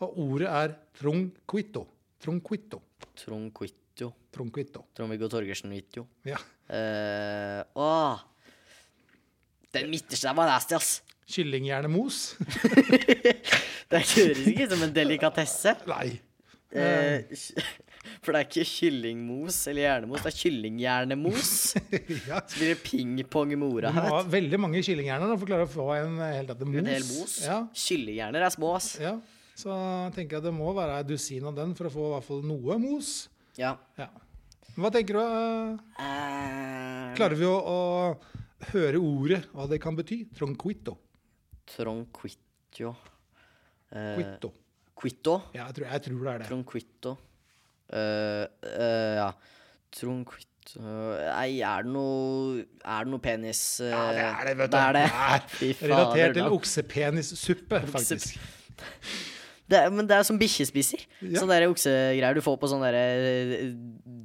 Speaker 1: og ordet er tronquito. Tronquito.
Speaker 2: Tronquito.
Speaker 1: Tronquito.
Speaker 2: Trond-Viggo Torgersen-video.
Speaker 1: Ja.
Speaker 2: Eh, åh. Den midterste der var nasty, ass.
Speaker 1: Kyllinghjernemos?
Speaker 2: Det høres ikke ut som en delikatesse.
Speaker 1: Nei.
Speaker 2: Eh, for det er ikke kyllingmos eller hjernemos, det er kyllinghjernemos.
Speaker 1: ja.
Speaker 2: Så blir det pingpong med mora
Speaker 1: Du må
Speaker 2: her.
Speaker 1: ha
Speaker 2: vet
Speaker 1: veldig mange kyllinghjerner da, for å klare å få en hel tatt mos.
Speaker 2: du. En hel mos.
Speaker 1: Ja,
Speaker 2: Kyllinghjerner er små, ass.
Speaker 1: ja. Så jeg tenker at det må være et dusin av den for å få i hvert fall noe mos.
Speaker 2: Ja.
Speaker 1: Ja. Hva tenker du? eh,
Speaker 2: Eh,
Speaker 1: Klarer vi å, å høre ordet, hva det kan bety? Tronquito.
Speaker 2: Tronquito. Eh,
Speaker 1: Quito.
Speaker 2: quito.
Speaker 1: Ja, jeg tror, jeg tror det er det.
Speaker 2: Tronquito. Eh, eh, ja. Tronquito Nei, er det noe Er det noe penis eh,
Speaker 1: Ja, det er det, vet du.
Speaker 2: Det er det.
Speaker 1: Det
Speaker 2: Fy
Speaker 1: er
Speaker 2: fader,
Speaker 1: Relatert
Speaker 2: da.
Speaker 1: til oksepenissuppe, faktisk.
Speaker 2: Det er, men det er som bikkjespiser.
Speaker 1: Ja.
Speaker 2: Sånne der oksegreier du får på sånne der eh,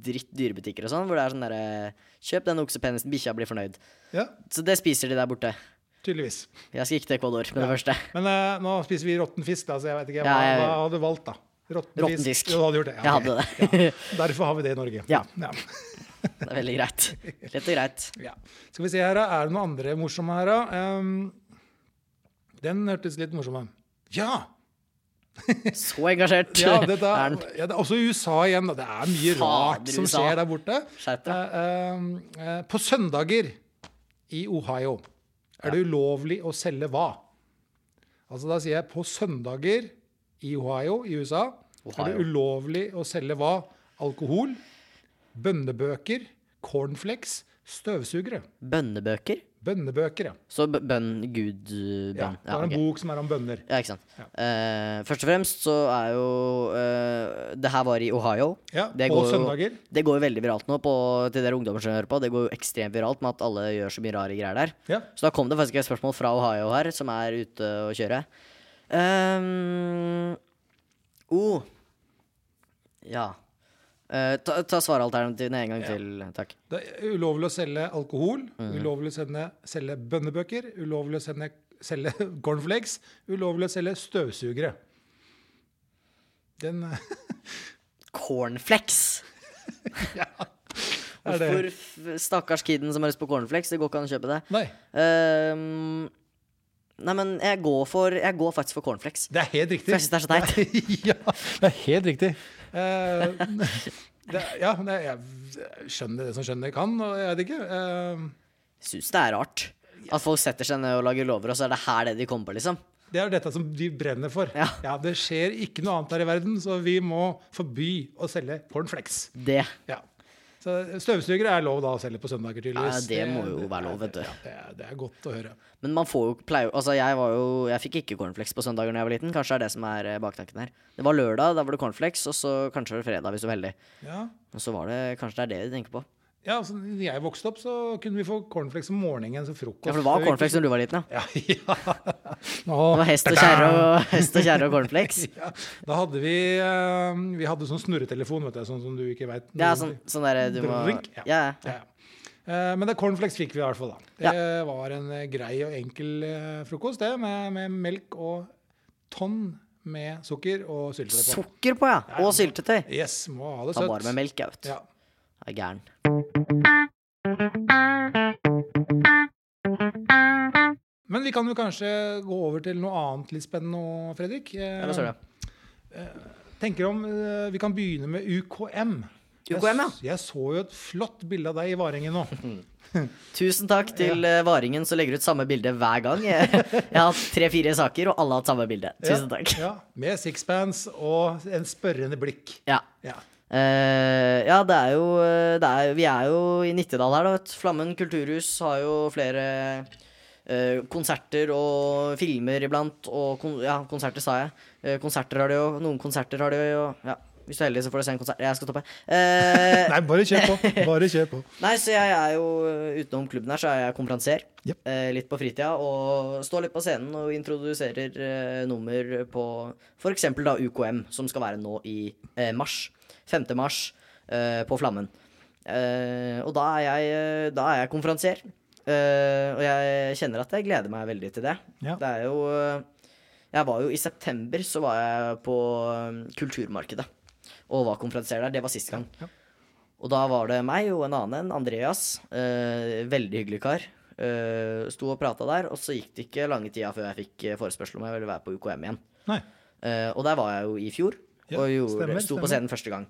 Speaker 2: dritt dyrebutikker og sånn, hvor det er sånn derre Kjøp den oksepenisen, bikkja blir fornøyd.
Speaker 1: Ja,
Speaker 2: Så det spiser de der borte.
Speaker 1: tydeligvis.
Speaker 2: Jeg skal ikke til Ecuador med det første.
Speaker 1: Men eh, nå spiser vi råtten fisk, da, så jeg vet ikke. Hva,
Speaker 2: Ja, jeg-
Speaker 1: hva hadde du valgt, da? Råtten
Speaker 2: Råtten
Speaker 1: fisk.
Speaker 2: fisk.
Speaker 1: Du hadde gjort det.
Speaker 2: Jeg
Speaker 1: ok.
Speaker 2: hadde det.
Speaker 1: Derfor har vi det i Norge.
Speaker 2: Ja.
Speaker 1: ja.
Speaker 2: det er veldig greit. Lett og greit.
Speaker 1: Ja. Skal vi se her, da. Er det noen andre morsomme her, da? Ehm, den hørtes litt morsom ut. Ja!
Speaker 2: Så engasjert
Speaker 1: ja, dette,
Speaker 2: er
Speaker 1: er-
Speaker 2: den.
Speaker 1: ja, det er også i USA igjen. da. Det er mye rart
Speaker 2: Fader,
Speaker 1: som
Speaker 2: USA.
Speaker 1: skjer der borte.
Speaker 2: Skjerp deg.
Speaker 1: Eh, ehm, eh, på søndager i Ohio er det ulovlig å selge hva? Altså da sier jeg på søndager i Ohio i USA er
Speaker 2: Ohio.
Speaker 1: det ulovlig å selge hva? Alkohol, bønnebøker, cornflakes, støvsugere.
Speaker 2: Bønnebøker?
Speaker 1: Bønnebøker, ja.
Speaker 2: Så b- bønn Gud eh,
Speaker 1: Ja,
Speaker 2: bønn.
Speaker 1: det er en
Speaker 2: ok.
Speaker 1: bok som er om bønner.
Speaker 2: Ja, ikke sant. Eh, først og fremst så er jo eh, Det her var i Ohio.
Speaker 1: Ja,
Speaker 2: Det
Speaker 1: på
Speaker 2: går jo-
Speaker 1: søndager.
Speaker 2: Det går jo veldig viralt nå på, til dere ungdommer som hører på. Det går jo ekstremt viralt med at alle gjør så mye rare greier der.
Speaker 1: Ja.
Speaker 2: Så da kom det faktisk et spørsmål fra Ohio her, som er ute å kjøre. Ehm, oh. Ja. Eh, ta, ta svaralternativene en gang til, takk.
Speaker 1: Det er ulovlig å selge alkohol, ulovlig å sende, selge bønnebøker, ulovlig å sende, selge cornflakes, ulovlig å selge støvsugere. Den
Speaker 2: Cornflakes!
Speaker 1: er
Speaker 2: For
Speaker 1: det.
Speaker 2: f- stakkars kiden som har lyst på cornflakes, det går ikke an å kjøpe det.
Speaker 1: Nei,
Speaker 2: Ehm, nei, men jeg går, for, jeg går faktisk for cornflakes.
Speaker 1: det er helt riktig.
Speaker 2: For jeg synes det er så teit.
Speaker 1: ja, det er helt riktig. Eh, det, ja, det, jeg skjønner det som skjønner kan, og jeg vet ikke. Eh,
Speaker 2: Syns det er rart. At folk setter seg ned og lager lover, og så er det her det de kommer på, liksom.
Speaker 1: Det er dette som de brenner for.
Speaker 2: Ja.
Speaker 1: Det skjer ikke noe annet her i verden, så vi må forby å selge cornflakes.
Speaker 2: Det.
Speaker 1: Ja. Så støvsugere er lov da å selge på søndager, tydeligvis.
Speaker 2: Ja, det må jo være lov, vet du.
Speaker 1: Ja, det, er, det er godt å høre.
Speaker 2: Men man får jo pleier, altså jeg var jo Jeg fikk ikke cornflakes på søndager da jeg var liten. Kanskje det er det som er eh, baktanken her. Det var lørdag, da var det cornflakes, og så kanskje var det fredag, hvis du er heldig.
Speaker 1: Ja.
Speaker 2: Og så var det kanskje det er det de tenker på.
Speaker 1: Ja, altså, når jeg vokste opp, så kunne vi få cornflakes om morgenen som frokost.
Speaker 2: Ja, for det var cornflakes da du var liten, ja.
Speaker 1: Ja, ja. Nå,
Speaker 2: Det var hest og kjerre og, hest og, kjerre og cornflakes.
Speaker 1: ja. Da hadde vi eh, Vi hadde sånn snurretelefon, vet du, sånn som du ikke veit.
Speaker 2: Det er sånn, sånn derre du må
Speaker 1: Drink, ja.
Speaker 2: Ja, ja.
Speaker 1: Ja. ja. Eh, Men det cornflakes fikk vi i hvert fall, da. Det
Speaker 2: Ja.
Speaker 1: var en eh, grei og enkel eh, frokost, det, med, med melk og tonn med sukker og syltetøy på.
Speaker 2: Sukker på, ja. Og syltetøy.
Speaker 1: Yes, må ha det
Speaker 2: Ta bare
Speaker 1: søtt.
Speaker 2: med melk, jeg, vet du.
Speaker 1: Ja.
Speaker 2: Jeg er gæren.
Speaker 1: Men vi kan jo kanskje gå over til noe annet litt spennende nå, Fredrik. Eh,
Speaker 2: Eller så er det.
Speaker 1: Tenker om eh, Vi kan begynne med UKM.
Speaker 2: UKM, ja.
Speaker 1: Jeg, s- jeg så jo et flott bilde av deg i Varengen nå.
Speaker 2: Tusen takk til eh, Varingen som legger ut samme bilde hver gang. Jeg, jeg har hatt tre-fire saker, og alle har hatt samme bilde. Tusen
Speaker 1: Ja,
Speaker 2: takk.
Speaker 1: Ja, med sixpence og en spørrende blikk.
Speaker 2: Ja.
Speaker 1: Ja.
Speaker 2: Eh, ja, det er jo eh, det er, Vi er jo i Nittedal her, da. Vet. du. Flammen kulturhus har jo flere eh, konserter og filmer iblant. Og kon ja, konserter sa jeg. Eh, konserter har de jo. Noen konserter har de jo. Ja. Hvis du er heldig, så får du se en konsert. Jeg skal toppe. Eh,
Speaker 1: Nei, bare kjør på. Bare kjør på.
Speaker 2: Nei, så jeg er jo eh, utenom klubben her, så er jeg konferansier.
Speaker 1: Jep.
Speaker 2: Eh, litt på fritida. Og står litt på scenen og introduserer eh, nummer på f.eks. da UKM, som skal være nå i eh, mars. 5. mars eh, på Flammen. Eh, og da er jeg, eh, da er jeg konferansier. Eh, og jeg kjenner at jeg gleder meg veldig til det.
Speaker 1: Ja.
Speaker 2: Det er jo eh, Jeg var jo i september, så var jeg på eh, Kulturmarkedet og var konferansier der. Det var sist gang. Og da var det meg og en annen, en, Andreas. Eh, veldig hyggelig kar. Eh, sto og prata der, og så gikk det ikke lange tida før jeg fikk eh, forespørsel om jeg ville være på UKM igjen.
Speaker 1: Nei.
Speaker 2: Eh, og der var jeg jo i fjor,
Speaker 1: Ja,
Speaker 2: og gjorde,
Speaker 1: stemmer,
Speaker 2: sto
Speaker 1: stemmer.
Speaker 2: på scenen første gang.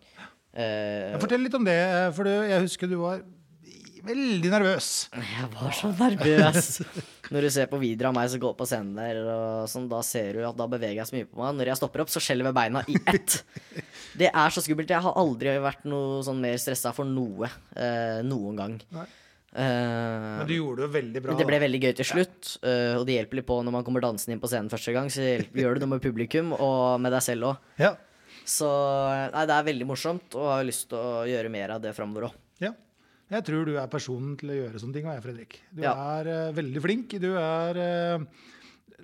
Speaker 2: Eh,
Speaker 1: Ja, Fortell litt om det, eh, for du- jeg husker du var veldig nervøs.
Speaker 2: jeg var så nervøs. Når du ser på videoer av meg som går på scenen der, og sånn, da ser du at da beveger jeg så mye på meg. Når jeg stopper opp, så skjelver beina i ett. Det er så skummelt. Jeg har aldri vært noe sånn mer stressa for noe eh, noen gang.
Speaker 1: Nei.
Speaker 2: Eh,
Speaker 1: Men du gjorde det veldig bra.
Speaker 2: Det ble
Speaker 1: da.
Speaker 2: veldig gøy til slutt, øh, og det hjelper litt på når man kommer dansende inn på scenen første gang. Så hjelp- gjør det noe med publikum og med deg selv òg.
Speaker 1: Ja.
Speaker 2: Så eh, nei, det er veldig morsomt, og har lyst til å gjøre mer av det framover òg.
Speaker 1: ja. Jeg tror du er personen til å gjøre sånne ting, og jeg, Fredrik. Du
Speaker 2: Ja.
Speaker 1: er eh, veldig flink. Du er, eh,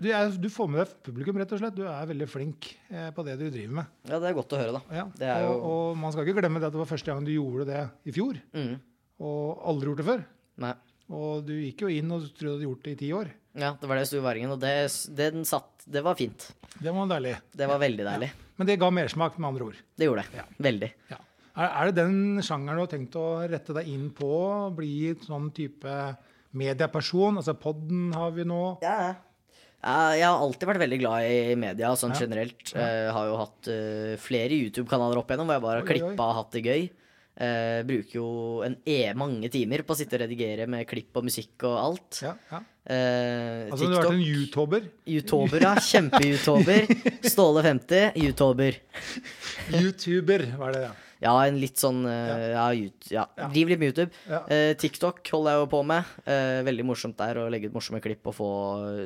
Speaker 1: du er Du får med deg publikum, rett og slett. Du er veldig flink eh, på det du driver med.
Speaker 2: Ja, det er godt å høre, da.
Speaker 1: Ja.
Speaker 2: Det er
Speaker 1: og,
Speaker 2: jo-
Speaker 1: og man skal ikke glemme det at det var første gang du gjorde det i fjor.
Speaker 2: Mm.
Speaker 1: Og aldri gjort det før.
Speaker 2: Nei.
Speaker 1: Og du gikk jo inn og trodde du hadde gjort det i ti år.
Speaker 2: Ja, det var det jeg sto i varingen, og det, den satt Det var fint.
Speaker 1: Det var deilig.
Speaker 2: Det var veldig deilig.
Speaker 1: Men det ga mersmak, med andre ord.
Speaker 2: Det gjorde det. Veldig.
Speaker 1: Ja. Er, er det den sjangeren du har tenkt å rette deg inn på? Bli sånn type medieperson? Altså podden har vi nå.
Speaker 2: Ja, Jeg har alltid vært veldig glad i media sånn
Speaker 1: Ja.
Speaker 2: generelt. Eh, har jo hatt eh, flere YouTube-kanaler opp igjennom hvor jeg bare har
Speaker 1: Oi, oi, oi.
Speaker 2: klippa og hatt det gøy. Eh, bruker jo en e mange timer på å sitte og redigere med klipp og musikk og alt.
Speaker 1: Ja, ja.
Speaker 2: Eh,
Speaker 1: Altså, du har vært
Speaker 2: TikTok.
Speaker 1: en youtuber.
Speaker 2: YouTuber, ja. Kjempe-YouTuber. Ståle50, YouTuber.
Speaker 1: Youtuber, hva er det? Ja.
Speaker 2: Ja, en litt sånn eh, ja, YouTube, ja.
Speaker 1: Ja.
Speaker 2: driv litt med YouTube.
Speaker 1: Ja.
Speaker 2: Eh, TikTok holder jeg jo på med. Eh, veldig morsomt der å legge ut morsomme klipp og få,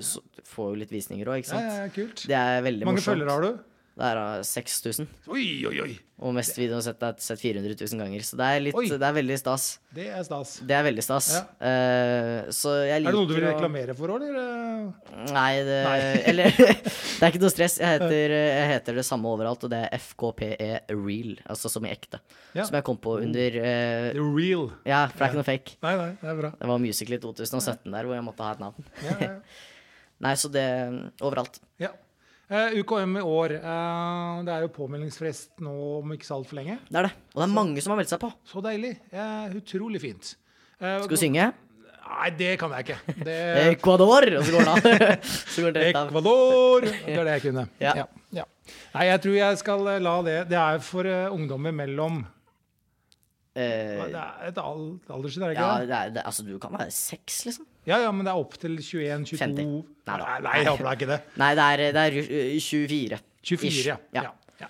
Speaker 2: så, få litt visninger òg, ikke
Speaker 1: Ja,
Speaker 2: sant?
Speaker 1: ja, kult.
Speaker 2: Det er veldig
Speaker 1: Mange
Speaker 2: morsomt.
Speaker 1: følgere har du?
Speaker 2: Det er da 6000.
Speaker 1: Oi, oi, oi!
Speaker 2: Og mest videoen sett er sett 400 000 ganger. Så det er, litt,
Speaker 1: Oi.
Speaker 2: det er veldig stas.
Speaker 1: Det er stas.
Speaker 2: Det er veldig stas.
Speaker 1: Ja.
Speaker 2: Eh, så jeg
Speaker 1: Er
Speaker 2: liker
Speaker 1: det noe du vil
Speaker 2: å-
Speaker 1: reklamere for, eller?
Speaker 2: Nei, det,
Speaker 1: Nei. Eh.
Speaker 2: eller Det er ikke noe stress. Jeg heter, eh, jeg heter det samme overalt, og det er FKPE Real. Altså som i ekte.
Speaker 1: Ja.
Speaker 2: Som jeg kom på under eh,
Speaker 1: The real.
Speaker 2: Ja, for det er ikke noe fake.
Speaker 1: Nei, nei, det er bra.
Speaker 2: Det var Musical.ly 2017 der hvor jeg måtte ha et navn.
Speaker 1: Ja, ja, ja.
Speaker 2: Nei, så det Overalt.
Speaker 1: Ja. Eh, UKM i år. eh, det er jo påmeldingsfrist nå om ikke så altfor lenge.
Speaker 2: Det er det. Og det er mange som har meldt seg på.
Speaker 1: Så deilig. Eh, utrolig fint. Eh,
Speaker 2: Skal du synge?
Speaker 1: Nei, det kan jeg ikke. Det,
Speaker 2: Ecuador! Og så går den av. Så går den rett av.
Speaker 1: Eh. Ecuador! Det er det jeg kunne.
Speaker 2: Ja.
Speaker 1: Ja. Ja. Nei, jeg tror jeg skal eh, la det Det er for eh, ungdommer mellom
Speaker 2: Eh,
Speaker 1: Det er et al alderssyn, er det ikke
Speaker 2: Ja,
Speaker 1: det?
Speaker 2: det er, det, altså du kan være seks, liksom.
Speaker 1: Ja, ja, men det er opp til 21, 22
Speaker 2: 50. Nei
Speaker 1: Nei,
Speaker 2: da.
Speaker 1: nei, jeg håper det er ikke det.
Speaker 2: Nei, det er, det er eh, 24.
Speaker 1: 24,
Speaker 2: Ish.
Speaker 1: ja. ja. ja.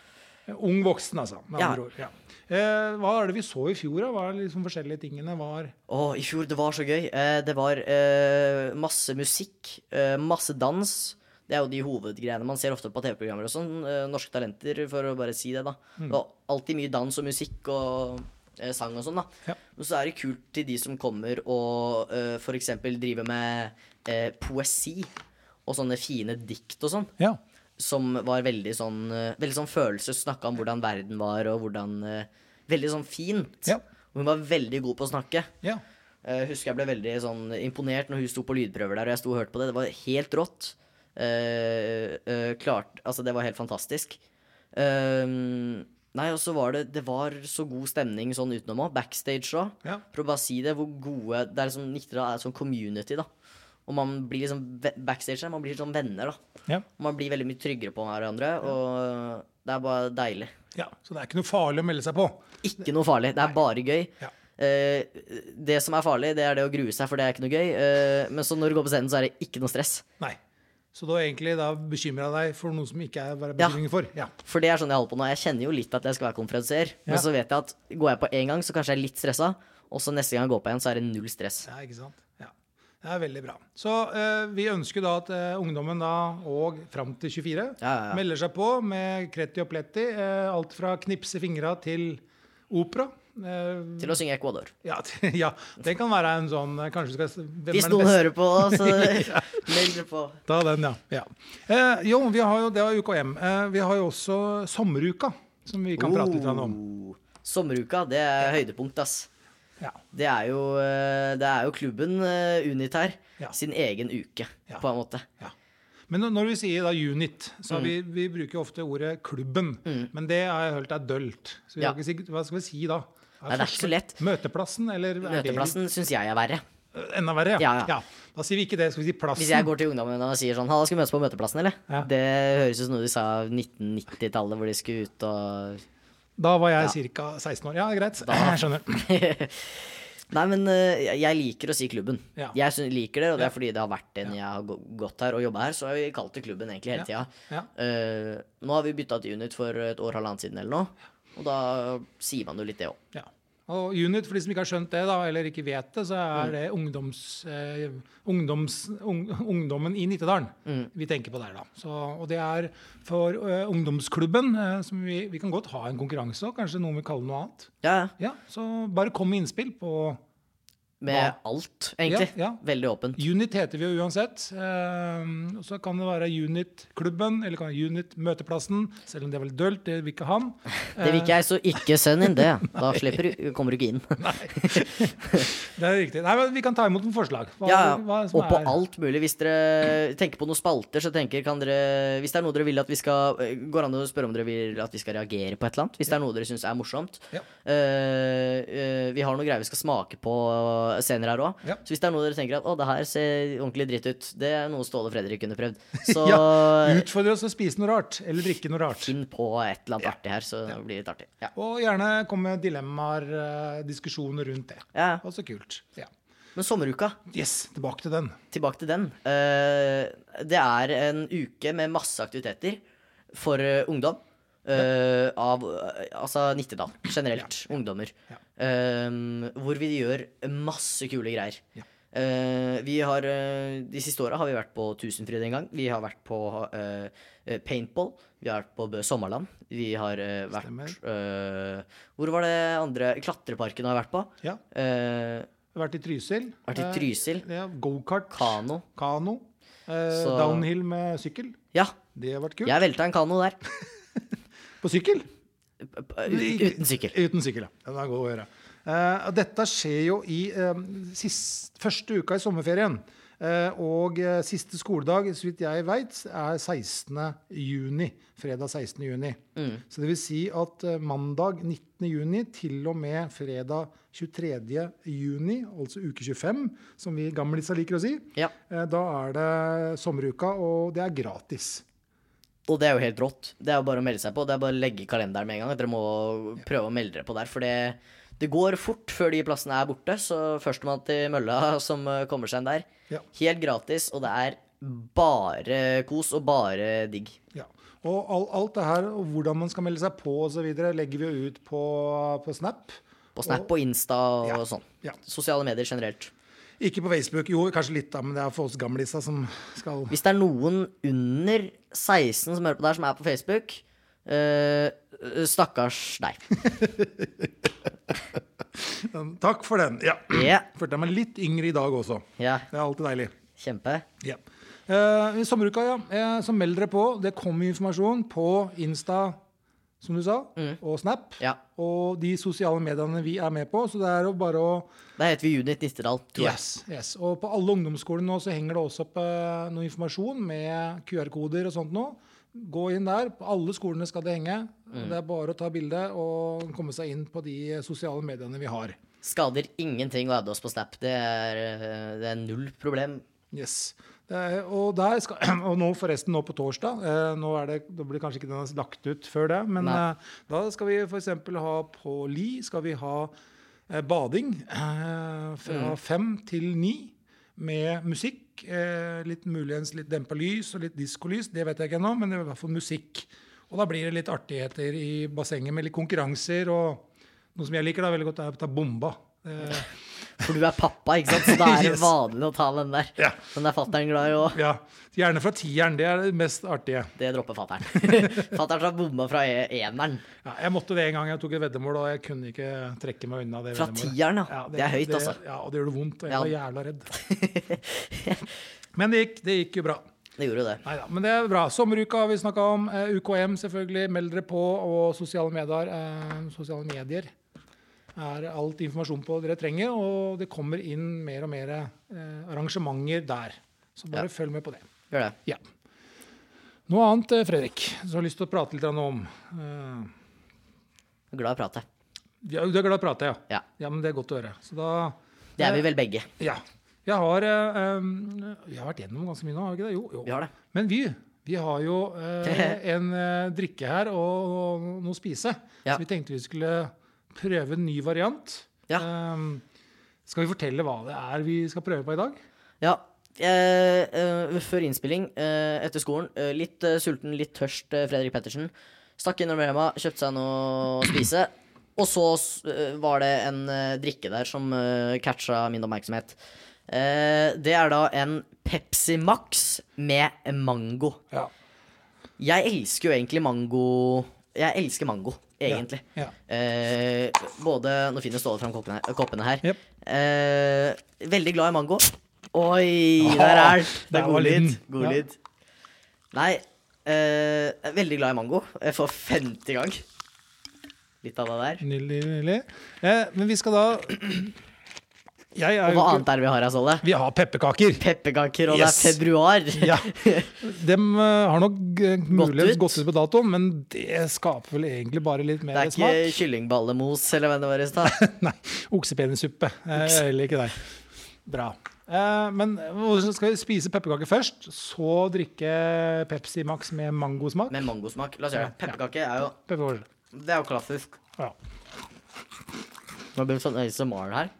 Speaker 1: Ung voksen, altså. Med
Speaker 2: Ja.
Speaker 1: andre ord. Ja. Eh, hva er det vi så i fjor, da? Hva er liksom forskjellige tingene var?
Speaker 2: Å, i fjor, det var så gøy. Eh, det var eh, masse musikk, eh, masse dans. Det er jo de hovedgreiene man ser ofte på TV-programmer og sånn. Eh, norske talenter, for å bare si det, da.
Speaker 1: Mm.
Speaker 2: Det var alltid mye dans og musikk og eh, sang og sånn, da.
Speaker 1: Ja.
Speaker 2: Men så er det kult til de som kommer og eh, for f.eks. driver med eh, poesi og sånne fine dikt og sånn.
Speaker 1: Ja.
Speaker 2: som var veldig sånn eh, Veldig sånn følelse. Snakka om hvordan verden var, og hvordan eh, Veldig sånn fint.
Speaker 1: Ja.
Speaker 2: Og hun var veldig god på å snakke.
Speaker 1: ja.
Speaker 2: Eh, husker jeg ble veldig sånn imponert når hun sto på lydprøver der, og jeg sto og hørte på det. Det var helt rått. Eh, eh, klart Altså, det var helt fantastisk. Eh, nei, og så var det Det var så god stemning sånn utenom òg. Backstage òg.
Speaker 1: Ja.
Speaker 2: For å bare si det, hvor gode Det er liksom Nittedal er sånn community, da. Og man blir liksom ve- backstage der, man blir sånn venner, da.
Speaker 1: Ja.
Speaker 2: Man blir veldig mye tryggere på hverandre, og det er bare deilig.
Speaker 1: ja. Så det er ikke noe farlig å melde seg på.
Speaker 2: Ikke noe farlig. Det er bare gøy.
Speaker 1: Ja.
Speaker 2: Eh, det som er farlig, det er det å grue seg, for det er ikke noe gøy. Eh, men så når du går på scenen, så er det ikke noe stress.
Speaker 1: Nei. Så du har egentlig da bekymra deg for noe som ikke er å være
Speaker 2: Ja.
Speaker 1: bekymring for? Ja.
Speaker 2: For det er sånn jeg holder på nå. Jeg kjenner jo litt at jeg skal være konferansier,
Speaker 1: Ja.
Speaker 2: men så vet jeg at går jeg på én gang, så kanskje jeg er litt stressa, og så neste gang jeg går på igjen, så er det null stress.
Speaker 1: Ja, ikke sant? Ja. Det er veldig bra. Så eh, vi ønsker da at eh, ungdommen da, og fram til 24,
Speaker 2: Ja, ja, ja.
Speaker 1: melder seg på med kreti og pletti. Eh, alt fra knipse fingra til opera. Eh,
Speaker 2: Til å synge Ecuador.
Speaker 1: ja, til, ja, det kan være en sånn eh, Kanskje vi skal hvem
Speaker 2: Hvis
Speaker 1: er den
Speaker 2: noen
Speaker 1: beste?
Speaker 2: hører på, så meld dere på.
Speaker 1: Ta den, ja. ja. Eh, jo, vi har jo, det var UKM. Eh, vi har jo også sommeruka, som vi kan prate litt grann
Speaker 2: Oh.
Speaker 1: om.
Speaker 2: Sommeruka, det er høydepunkt, ass.
Speaker 1: Ja.
Speaker 2: Det er jo, eh, det er jo klubben eh, Unit her.
Speaker 1: Ja.
Speaker 2: Sin egen uke,
Speaker 1: Ja.
Speaker 2: på en måte.
Speaker 1: Ja. Men når- når vi sier da unit, så
Speaker 2: Mm.
Speaker 1: har vi, vi bruker jo ofte ordet klubben. Men det har jeg hørt er dølt. Så vi
Speaker 2: Ja.
Speaker 1: har ikke si, hva skal vi si da?
Speaker 2: Nei, det er ikke så lett.
Speaker 1: Møteplassen, eller er det
Speaker 2: Møteplassen syns jeg er verre.
Speaker 1: litt- enda verre, ja.
Speaker 2: Ja, ja.
Speaker 1: Da sier vi ikke det, skal vi si plassen.
Speaker 2: Hvis jeg går til ungdommen og sier sånn Halla, skal vi møtes på møteplassen, eller?
Speaker 1: Ja.
Speaker 2: Det høres ut som noe de sa 1990-tallet, hvor de skulle ut og
Speaker 1: Da var jeg ca. 16 år. Ja, greit. Jeg skjønner.
Speaker 2: Nei, men eh, jeg- jeg liker å si klubben.
Speaker 1: Ja.
Speaker 2: Jeg syn- liker det, og det er fordi det har vært en jeg har gå- gått her og jobba her, så har vi kalt det klubben egentlig hele
Speaker 1: Ja.
Speaker 2: tida.
Speaker 1: Ja.
Speaker 2: Eh, nå har vi bytta til Unit for et år halvannet siden eller noe, og da sier man jo litt det òg.
Speaker 1: Ja. Og unit, for de som ikke har skjønt det, da, eller ikke vet det, så er det ungdoms, eh, ungdoms, ung, ungdommen i Nittedalen vi tenker på der, da. Så, og det er for eh, ungdomsklubben, eh, som vi, vi kan godt ha en konkurranse òg, kanskje noen vil kalle det noe annet.
Speaker 2: Ja, ja.
Speaker 1: Ja, Så bare kom med innspill på
Speaker 2: Med alt, egentlig.
Speaker 1: Ja, ja.
Speaker 2: Veldig åpen.
Speaker 1: Unit heter vi jo uansett. eh, og så kan det være Unit-klubben, eller kan Unit-møteplassen, selv om det er vel dølt, det vil ikke han.
Speaker 2: Det vil ikke jeg, så ikke send inn det. Da slipper du, kommer du ikke inn.
Speaker 1: Det er riktig. Nei, men Vi kan ta imot noen forslag. Hva-
Speaker 2: Ja,
Speaker 1: hva som
Speaker 2: og på
Speaker 1: er-
Speaker 2: alt mulig. Hvis dere tenker på noen spalter, så tenker kan dere Hvis det er noe dere vil at vi skal eh, Går an å spørre om dere vil at vi skal reagere på et eller annet? Hvis det er noe dere syns er morsomt.
Speaker 1: Ja.
Speaker 2: Eh, eh, vi har noe greier vi skal smake på senere her òg.
Speaker 1: Ja.
Speaker 2: Så hvis det er noe dere tenker at å, det her ser ordentlig dritt ut, det er noe Ståle og Fredrik kunne prøvd, så
Speaker 1: Ja, utfordre oss til å spise noe rart, eller drikke noe rart.
Speaker 2: finn på et eller annet artig her, så blir det litt artig. Ja.
Speaker 1: Og gjerne komme med dilemmaer, eh, diskusjoner rundt det.
Speaker 2: Ja.
Speaker 1: Også kult. Ja.
Speaker 2: Men sommeruka,
Speaker 1: Yes, tilbake til den.
Speaker 2: tilbake til den. Eh, det er en uke med masse aktiviteter for eh, ungdom. eh, Av eh, altså Nittedal generelt. Ungdommer. Eh, hvor vi gjør masse kule greier.
Speaker 1: Ja.
Speaker 2: Eh, vi har, eh, de siste åra har vi vært på Tusenfryd en gang. Vi har vært på eh, eh, paintball. Vi har vært på Bø Sommerland. Vi har eh, vært eh, Hvor var det andre Klatreparken har vi vært på.
Speaker 1: Ja.
Speaker 2: Eh,
Speaker 1: Vært i Trysil.
Speaker 2: vært i
Speaker 1: Eh,
Speaker 2: Trysil.
Speaker 1: Ja, Gokart.
Speaker 2: Kano.
Speaker 1: Kano. Eh,
Speaker 2: Så-
Speaker 1: downhill med sykkel.
Speaker 2: Ja,
Speaker 1: Det har vært kult.
Speaker 2: Jeg velta en kano der.
Speaker 1: På sykkel?
Speaker 2: U- Uten sykkel.
Speaker 1: Uten sykkel, ja. Den er god å gjøre. Eh, og dette skjer jo i eh, sist, første uka i sommerferien. Eh, og eh, siste skoledag, så vidt jeg veit, er 16. juni. Fredag 16. juni. Så det vil si at eh, mandag 19. juni til og med fredag 23. juni, altså uke 25, som vi gamlisa liker å si,
Speaker 2: Ja.
Speaker 1: eh, da er det sommeruka, og det er gratis.
Speaker 2: Og det er jo helt rått. Det er jo bare å melde seg på. Det er bare å legge i kalenderen med en gang. Dere må prøve å melde dere på der. For det, det går fort før de plassene er borte. Så førstemann til mølla som eh, kommer seg inn der.
Speaker 1: Ja.
Speaker 2: Helt gratis, og det er bare kos og bare digg.
Speaker 1: Ja. Og all, alt det her, og hvordan man skal melde seg på osv., legger vi jo ut på, på Snap.
Speaker 2: På Snap og Insta og
Speaker 1: Ja,
Speaker 2: sånn.
Speaker 1: ja.
Speaker 2: Sosiale medier generelt.
Speaker 1: Ikke på Facebook. Jo, kanskje litt, da, men det er for oss gamlisa som skal
Speaker 2: Hvis det er noen under 16 som hører på der, som er på Facebook, eh, stakkars deg.
Speaker 1: Takk for den. Ja.
Speaker 2: Ja.
Speaker 1: Følte jeg meg litt yngre i dag også.
Speaker 2: ja.
Speaker 1: Det er alltid deilig.
Speaker 2: Kjempe.
Speaker 1: Ja. Eh, i sommeruka, ja. Eh, så meld dere på. Det kommer informasjon på Insta, som du sa, og Snap.
Speaker 2: Ja.
Speaker 1: Og de sosiale mediene vi er med på. Så det er jo bare å
Speaker 2: Da heter vi Unit Nittedal, tror jeg.
Speaker 1: Yes, yes. Og på alle ungdomsskoler nå så henger det også opp eh, noe informasjon med QR-koder og sånt nå. Gå inn der. På alle skolene skal det henge. Det er bare å ta bilde og komme seg inn på de sosiale mediene vi har.
Speaker 2: Skader ingenting å adde oss på Snap. Det er, eh, det er null problem.
Speaker 1: Yes. Eh, Og, der skal, og nå forresten, nå på torsdag eh, nå er det, Da blir kanskje ikke den lagt ut før det, men
Speaker 2: Nei.
Speaker 1: eh, da skal vi f.eks. ha på Li skal vi ha eh, bading eh, fra fem til ni med musikk. Eh, litt Muligens litt dempa lys og litt diskolys, det vet jeg ikke ennå, men det er i hvert fall musikk. Og da blir det litt artigheter i bassenget med litt konkurranser og noe som jeg liker da veldig godt, er å ta bomba. Eh,
Speaker 2: For du er pappa, ikke sant? Så da er det
Speaker 1: Yes.
Speaker 2: vanlig å ta den der.
Speaker 1: Ja.
Speaker 2: Den er fatter'n glad i òg.
Speaker 1: ja, Gjerne fra tieren, det er det mest artige.
Speaker 2: Det dropper fatter'n. fatter'n tar bomma fra e- eneren.
Speaker 1: Ja, jeg måtte det en gang. Jeg tok et veddemål, og jeg kunne ikke trekke meg unna det.
Speaker 2: Fra
Speaker 1: veddemålet.
Speaker 2: tieren, ja. Det er høyt, altså.
Speaker 1: Ja, og det gjør det vondt. Og jeg
Speaker 2: Ja.
Speaker 1: var jævla redd. Men det gikk, det gikk jo bra.
Speaker 2: Det gjorde jo det.
Speaker 1: Neida, men det er bra. Sommeruka har vi snakka om. Eh, UKM, selvfølgelig. Meld dere på. Og sosiale medier, eh, sosiale medier er alt informasjon på dere trenger. Og det kommer inn mer og mer eh, arrangementer der. Så bare følg med på det.
Speaker 2: Gjør det.
Speaker 1: Ja. Noe annet, eh, Fredrik, som jeg har lyst til å prate litt grann om? Eh,
Speaker 2: Glad i å prate.
Speaker 1: ja, du er glad i å prate, ja.
Speaker 2: Ja.
Speaker 1: Ja, men det er godt å høre. Så da
Speaker 2: Det er vi vel begge.
Speaker 1: Ja. Jeg har eh, em, Vi har vært gjennom ganske mye nå, har vi ikke det? Jo. jo.
Speaker 2: Vi har det.
Speaker 1: Men vi, vi har jo eh, en eh, drikke her og, og noe å spise.
Speaker 2: Ja.
Speaker 1: Så vi tenkte vi skulle prøve en ny variant. Em, skal vi fortelle hva det er vi skal prøve på i dag?
Speaker 2: Ja. Eh, eh, før innspilling, eh, etter skolen, eh, litt eh, sulten, litt tørst, eh, Fredrik Pettersen. Stakk innom Rema, kjøpte seg noe å spise. Og så s- eh, var det en eh, drikke der som eh, catcha min oppmerksomhet. Eh, det er da en Pepsi Max med mango.
Speaker 1: Ja.
Speaker 2: Jeg elsker jo egentlig mango Jeg elsker mango, egentlig.
Speaker 1: Ja.
Speaker 2: Eh, både Nå finner Ståle fram koppene, koppene her.
Speaker 1: Jep.
Speaker 2: Eh, veldig glad i mango. Oi, der er den! Det
Speaker 1: der
Speaker 2: er
Speaker 1: var
Speaker 2: god lyd.
Speaker 1: lyden.
Speaker 2: God
Speaker 1: Ja.
Speaker 2: lyd. Nei, eh, jeg er veldig glad i mango. Jeg får 50 gang. Litt av det der.
Speaker 1: Nydelig, nydelig. Eh, men vi skal da Jeg er
Speaker 2: Og
Speaker 1: jo
Speaker 2: hva
Speaker 1: ikke
Speaker 2: annet er det vi har her, Ståle?
Speaker 1: Vi har pepperkaker.
Speaker 2: Pepperkaker, og
Speaker 1: Yes.
Speaker 2: det er februar.
Speaker 1: Ja. Dem eh, har nok eh, muligens
Speaker 2: ut.
Speaker 1: gått ut på dato, men det skaper vel egentlig bare litt
Speaker 2: Det
Speaker 1: mer
Speaker 2: er ikke
Speaker 1: smak.
Speaker 2: kyllingballemos eller hva det var i stad.
Speaker 1: Nei, oksepenissuppe. Eh, Heller ikke der. Bra. Eh, men hvor skal vi spise pepperkaker først, så drikke Pepsi Max med mangosmak.
Speaker 2: Med mangosmak. La oss gjøre det. Pepperkake er jo
Speaker 1: Pepperkaker.
Speaker 2: Det er jo klassisk.
Speaker 1: Ja.
Speaker 2: Nå blir det sånn ASMR her.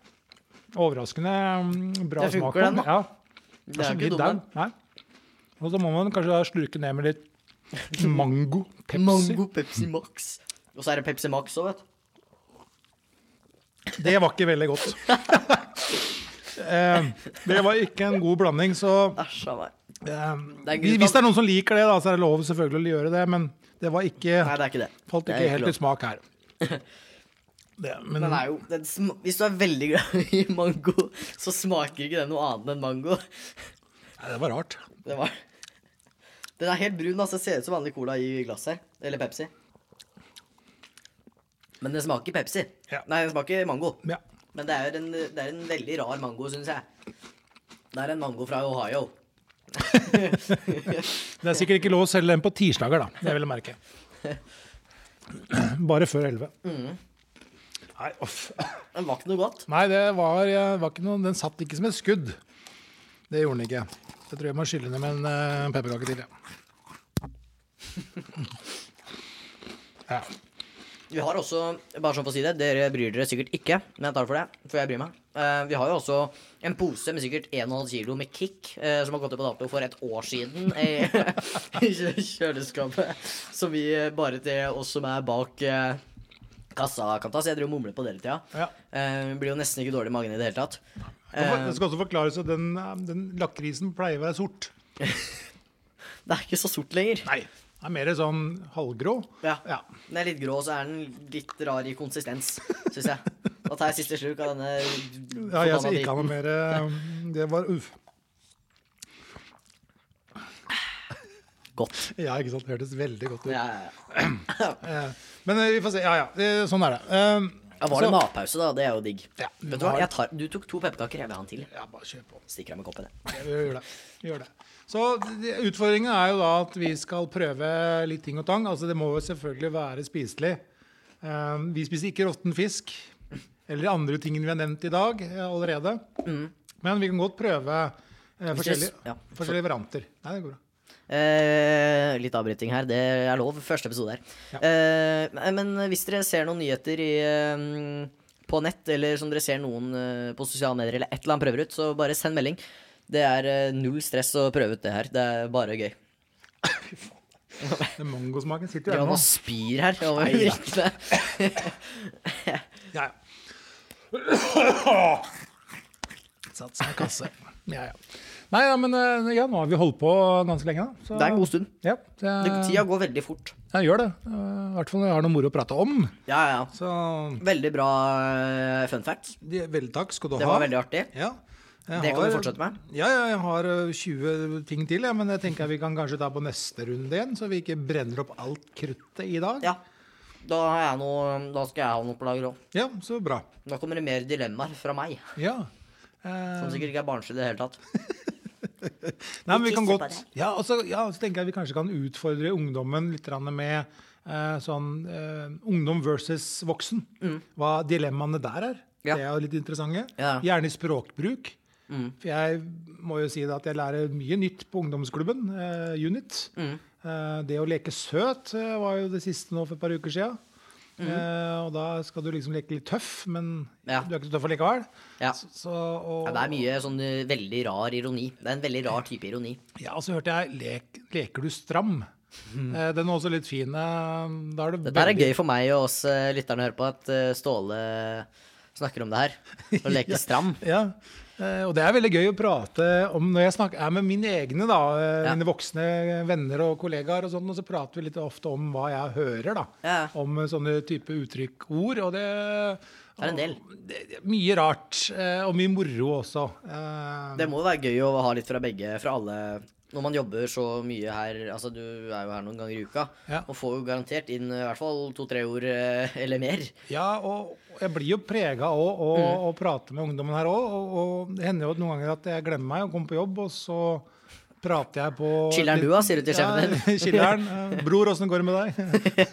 Speaker 1: Overraskende mm, bra
Speaker 2: Det funker,
Speaker 1: smak. på
Speaker 2: den, da.
Speaker 1: Ja.
Speaker 2: Det er jo ikke
Speaker 1: litt
Speaker 2: dumme.
Speaker 1: der. Nei. Og så må man kanskje da slurke ned med litt mango Pepsi.
Speaker 2: Mango Pepsi Max. Og så er det Pepsi Max òg, vet du.
Speaker 1: Det var ikke veldig godt. Eh, det var ikke en god blanding, så
Speaker 2: Æsj av meg.
Speaker 1: eh,
Speaker 2: Det er en
Speaker 1: vi-
Speaker 2: grunn
Speaker 1: Hvis
Speaker 2: til-
Speaker 1: det er noen som liker det, da, så er det lov selvfølgelig å gjøre det, men det var
Speaker 2: Nei,
Speaker 1: ikke,
Speaker 2: det er ikke det.
Speaker 1: falt
Speaker 2: Det er
Speaker 1: ikke helt i
Speaker 2: lov.
Speaker 1: smak her. Det, men
Speaker 2: den er jo, den sm Hvis du er veldig glad i mango, så smaker ikke den noe annet enn mango.
Speaker 1: nei, det var rart.
Speaker 2: Det var Den er helt brun, altså. Ser ut som vanlig cola i glasset. Eller Pepsi. Men den smaker Pepsi.
Speaker 1: Ja.
Speaker 2: Nei, den smaker mango.
Speaker 1: Ja.
Speaker 2: Men det er, en, det er en veldig rar mango, syns jeg. Det er en mango fra Ohio.
Speaker 1: Det er sikkert ikke lov å selge den på tirsdager, da. Det vil jeg merke. Bare før 11.
Speaker 2: Mm.
Speaker 1: Nei, uff.
Speaker 2: Den var ikke noe godt.
Speaker 1: Nei, det var, eh, var ikke noe, den satt ikke som et skudd. Det gjorde den ikke. Det tror jeg må skylle ned med en uh, pepperkake til. Ja. ja.
Speaker 2: Vi har også, bare sånn for å si det, dere bryr dere sikkert ikke, men jeg tar det for det, for jeg bryr meg. Eh, vi har jo også en pose med sikkert 1,5 kilo med Kick, eh, som har gått ut på dato for et år siden eh, i kjø- kjøleskapet. Som vi eh, bare til oss som er bak eh, kassa kan ta, så jeg driver og mumler på det hele tida.
Speaker 1: Ja.
Speaker 2: Eh, blir jo nesten ikke dårlig i magen i det hele tatt.
Speaker 1: Det
Speaker 2: Eh,
Speaker 1: for- det skal også forklares at den, eh, den lakrisen pleier å være sort.
Speaker 2: det er ikke så sort lenger.
Speaker 1: Nei. Den er mer sånn halvgrå.
Speaker 2: Ja.
Speaker 1: Ja.
Speaker 2: Den er litt grå, så er den litt rar i konsistens, syns jeg. Da tar jeg siste slurk av denne
Speaker 1: Ja, jeg skal
Speaker 2: forbanna
Speaker 1: ikke ha noe mer eh, Det var uff.
Speaker 2: driten. Godt.
Speaker 1: Ja, ikke sant. Det hørtes veldig godt ut.
Speaker 2: Ja, ja, ja.
Speaker 1: Eh, Men eh, vi får se. Ja, ja. eh, Sånn er det. Eh,
Speaker 2: Ja, var det
Speaker 1: så-
Speaker 2: matpause, da? Det er jo digg.
Speaker 1: Ja,
Speaker 2: Vet du hva,
Speaker 1: var-
Speaker 2: jeg tar, du tok to pepperkaker. Jeg vil ha en til.
Speaker 1: Ja, bare kjør på.
Speaker 2: Stikker av med koppen. jeg.
Speaker 1: Ja, vi gjør det. Vi gjør det. Så det- utfordringen er jo da at vi skal prøve litt ting og tang. Altså det må jo selvfølgelig være spiselig. Eh, Vi spiser ikke råtten fisk
Speaker 2: Mm.
Speaker 1: eller de andre tingene vi har nevnt i dag eh, allerede. Men vi kan godt prøve Eh,
Speaker 2: Hvis det-
Speaker 1: forskjellige,
Speaker 2: ja.
Speaker 1: forskjellige varianter. Nei, det går bra.
Speaker 2: Eh, litt avbryting her, det er lov. Første episode her.
Speaker 1: Ja.
Speaker 2: Eh, men hvis dere ser noen nyheter i, eh, på nett, eller som dere ser noen eh, på sosiale medier, eller et eller annet prøver ut, så bare send melding. Det er eh, null stress å prøve ut det her. Det er bare gøy.
Speaker 1: Den mangosmaken sitter jo her
Speaker 2: Ja,
Speaker 1: nå.
Speaker 2: nå spyr her over
Speaker 1: Neida.
Speaker 2: mikkene.
Speaker 1: Ja, ja. Satt seg i kasse. Ja, ja. Nei, ja, men eh, ja, nå har vi holdt på ganske lenge, da. Så,
Speaker 2: Det er en god stund.
Speaker 1: Ja, det,
Speaker 2: Det, tida går veldig fort.
Speaker 1: jeg gjør det. Eh, I hvert fall når jeg har noe moro å prate om.
Speaker 2: Ja, ja.
Speaker 1: Så
Speaker 2: Veldig bra eh, fun fact.
Speaker 1: de, vel, takk skal du
Speaker 2: Det
Speaker 1: ha.
Speaker 2: var veldig artig.
Speaker 1: Ja. Jeg
Speaker 2: Det kan du
Speaker 1: har-
Speaker 2: fortsette med.
Speaker 1: Ja, ja, jeg har eh, 20 ting til, ja, men jeg tenker vi kan kanskje ta på neste runde igjen, så vi ikke brenner opp alt kruttet i dag.
Speaker 2: Ja. Da, har jeg noe, da skal jeg ha noe på lager òg.
Speaker 1: Ja, så bra.
Speaker 2: Nå kommer det mer dilemmaer fra meg.
Speaker 1: Ja. Eh,
Speaker 2: Som sikkert ikke er barnslig i det hele tatt.
Speaker 1: Nei, men vi kan
Speaker 2: Ikke
Speaker 1: godt,
Speaker 2: separert.
Speaker 1: ja, og så, ja, så tenker jeg vi kanskje kan utfordre ungdommen litt grann med eh, sånn eh, ungdom versus voksen. Hva dilemmaene der er.
Speaker 2: Mm. Ja.
Speaker 1: Det er jo litt interessante.
Speaker 2: Ja. Mm.
Speaker 1: Gjerne i språkbruk. For jeg må jo si det at jeg lærer mye nytt på ungdomsklubben, eh, Unit.
Speaker 2: Mm.
Speaker 1: Eh, det å leke søt eh, var jo det siste nå for et par uker sia. Eh, og da skal du liksom leke litt tøff, men
Speaker 2: Mm. Ja.
Speaker 1: du er ikke så tøff allikevel.
Speaker 2: Ja.
Speaker 1: Så, så, og,
Speaker 2: Ja, det er mye sånn eh, veldig rar ironi. Det er en veldig rar type ironi.
Speaker 1: Ja, og så hørte jeg lek, 'Leker du stram'? Eh, Den er også litt fin. eh, Da er det
Speaker 2: Mm. Dette her er gøy for meg og oss eh, lytterne å høre på, at eh, Ståle snakker om det her. Og leker stram.
Speaker 1: Ja. eh, Og det er veldig gøy å prate om når jeg snakker, er med mine egne, da, eh,
Speaker 2: Ja.
Speaker 1: mine voksne venner og kollegaer, og sånn, og så prater vi litt ofte om hva jeg hører. da,
Speaker 2: Ja.
Speaker 1: Om eh, sånne type uttrykk, ord. Og det
Speaker 2: Det er en del.
Speaker 1: og det- det er Mye rart, eh, og mye moro også. Eh,
Speaker 2: Det må jo være gøy å ha litt fra begge, fra alle. Når man jobber så mye her, altså du er jo her noen ganger i uka,
Speaker 1: Ja.
Speaker 2: og får jo garantert inn eh, i hvert fall to-tre ord eh, eller mer.
Speaker 1: Ja, og og jeg blir jo prega av å
Speaker 2: Mm.
Speaker 1: å- å prate med ungdommen her òg. Og, og det hender jo noen ganger at jeg glemmer meg og kommer på jobb, og så prater jeg på
Speaker 2: Chiller'n du, da, sier du til sjefen din.
Speaker 1: Ja, chiller'n. eh, Bror, åssen går det med deg?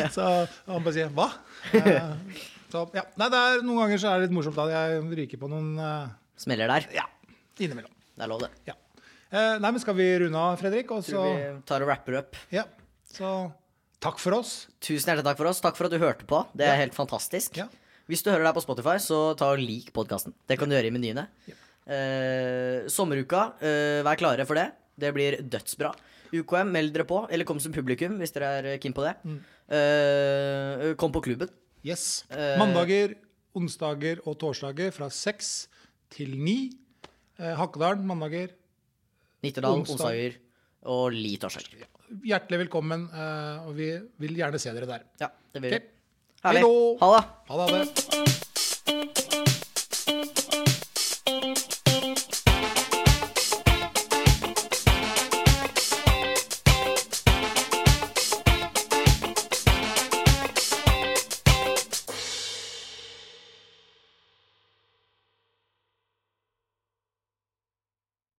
Speaker 1: så han bare sier hva? Eh, Så, ja. Nei, det er, noen ganger så er det litt morsomt at jeg ryker på noen eh,
Speaker 2: Smeller der.
Speaker 1: Ja, innimellom.
Speaker 2: Det er lov, det.
Speaker 1: Ja. Eh, Nei, men skal vi runde av, Fredrik? Og så,
Speaker 2: Tror vi tar og rapper opp.
Speaker 1: ja. så takk for oss.
Speaker 2: Tusen hjertelig takk for oss. Takk for at du hørte på. Det er helt fantastisk.
Speaker 1: Ja.
Speaker 2: Hvis du hører deg på Spotify, så ta og lik podkasten. Det kan du gjøre i menyene. Eh, sommeruka, eh, vær klare for det. Det blir dødsbra. UKM, meld dere på. Eller kom som publikum, hvis dere er keen på det.
Speaker 1: Mm.
Speaker 2: Eh, kom på klubben.
Speaker 1: Yes.
Speaker 2: Eh,
Speaker 1: Mandager, onsdager og torsdager fra seks til ni. Eh, Hakkedalen mandager.
Speaker 2: Nittedal,
Speaker 1: Onsdag.
Speaker 2: Onsdager og Li torsdag.
Speaker 1: Hjertelig velkommen, eh, og vi vil gjerne se dere der.
Speaker 2: Ja, det blir
Speaker 1: Ok.
Speaker 2: herlig.
Speaker 1: Hejdå.
Speaker 2: Ha det.
Speaker 1: Ha det, ha det.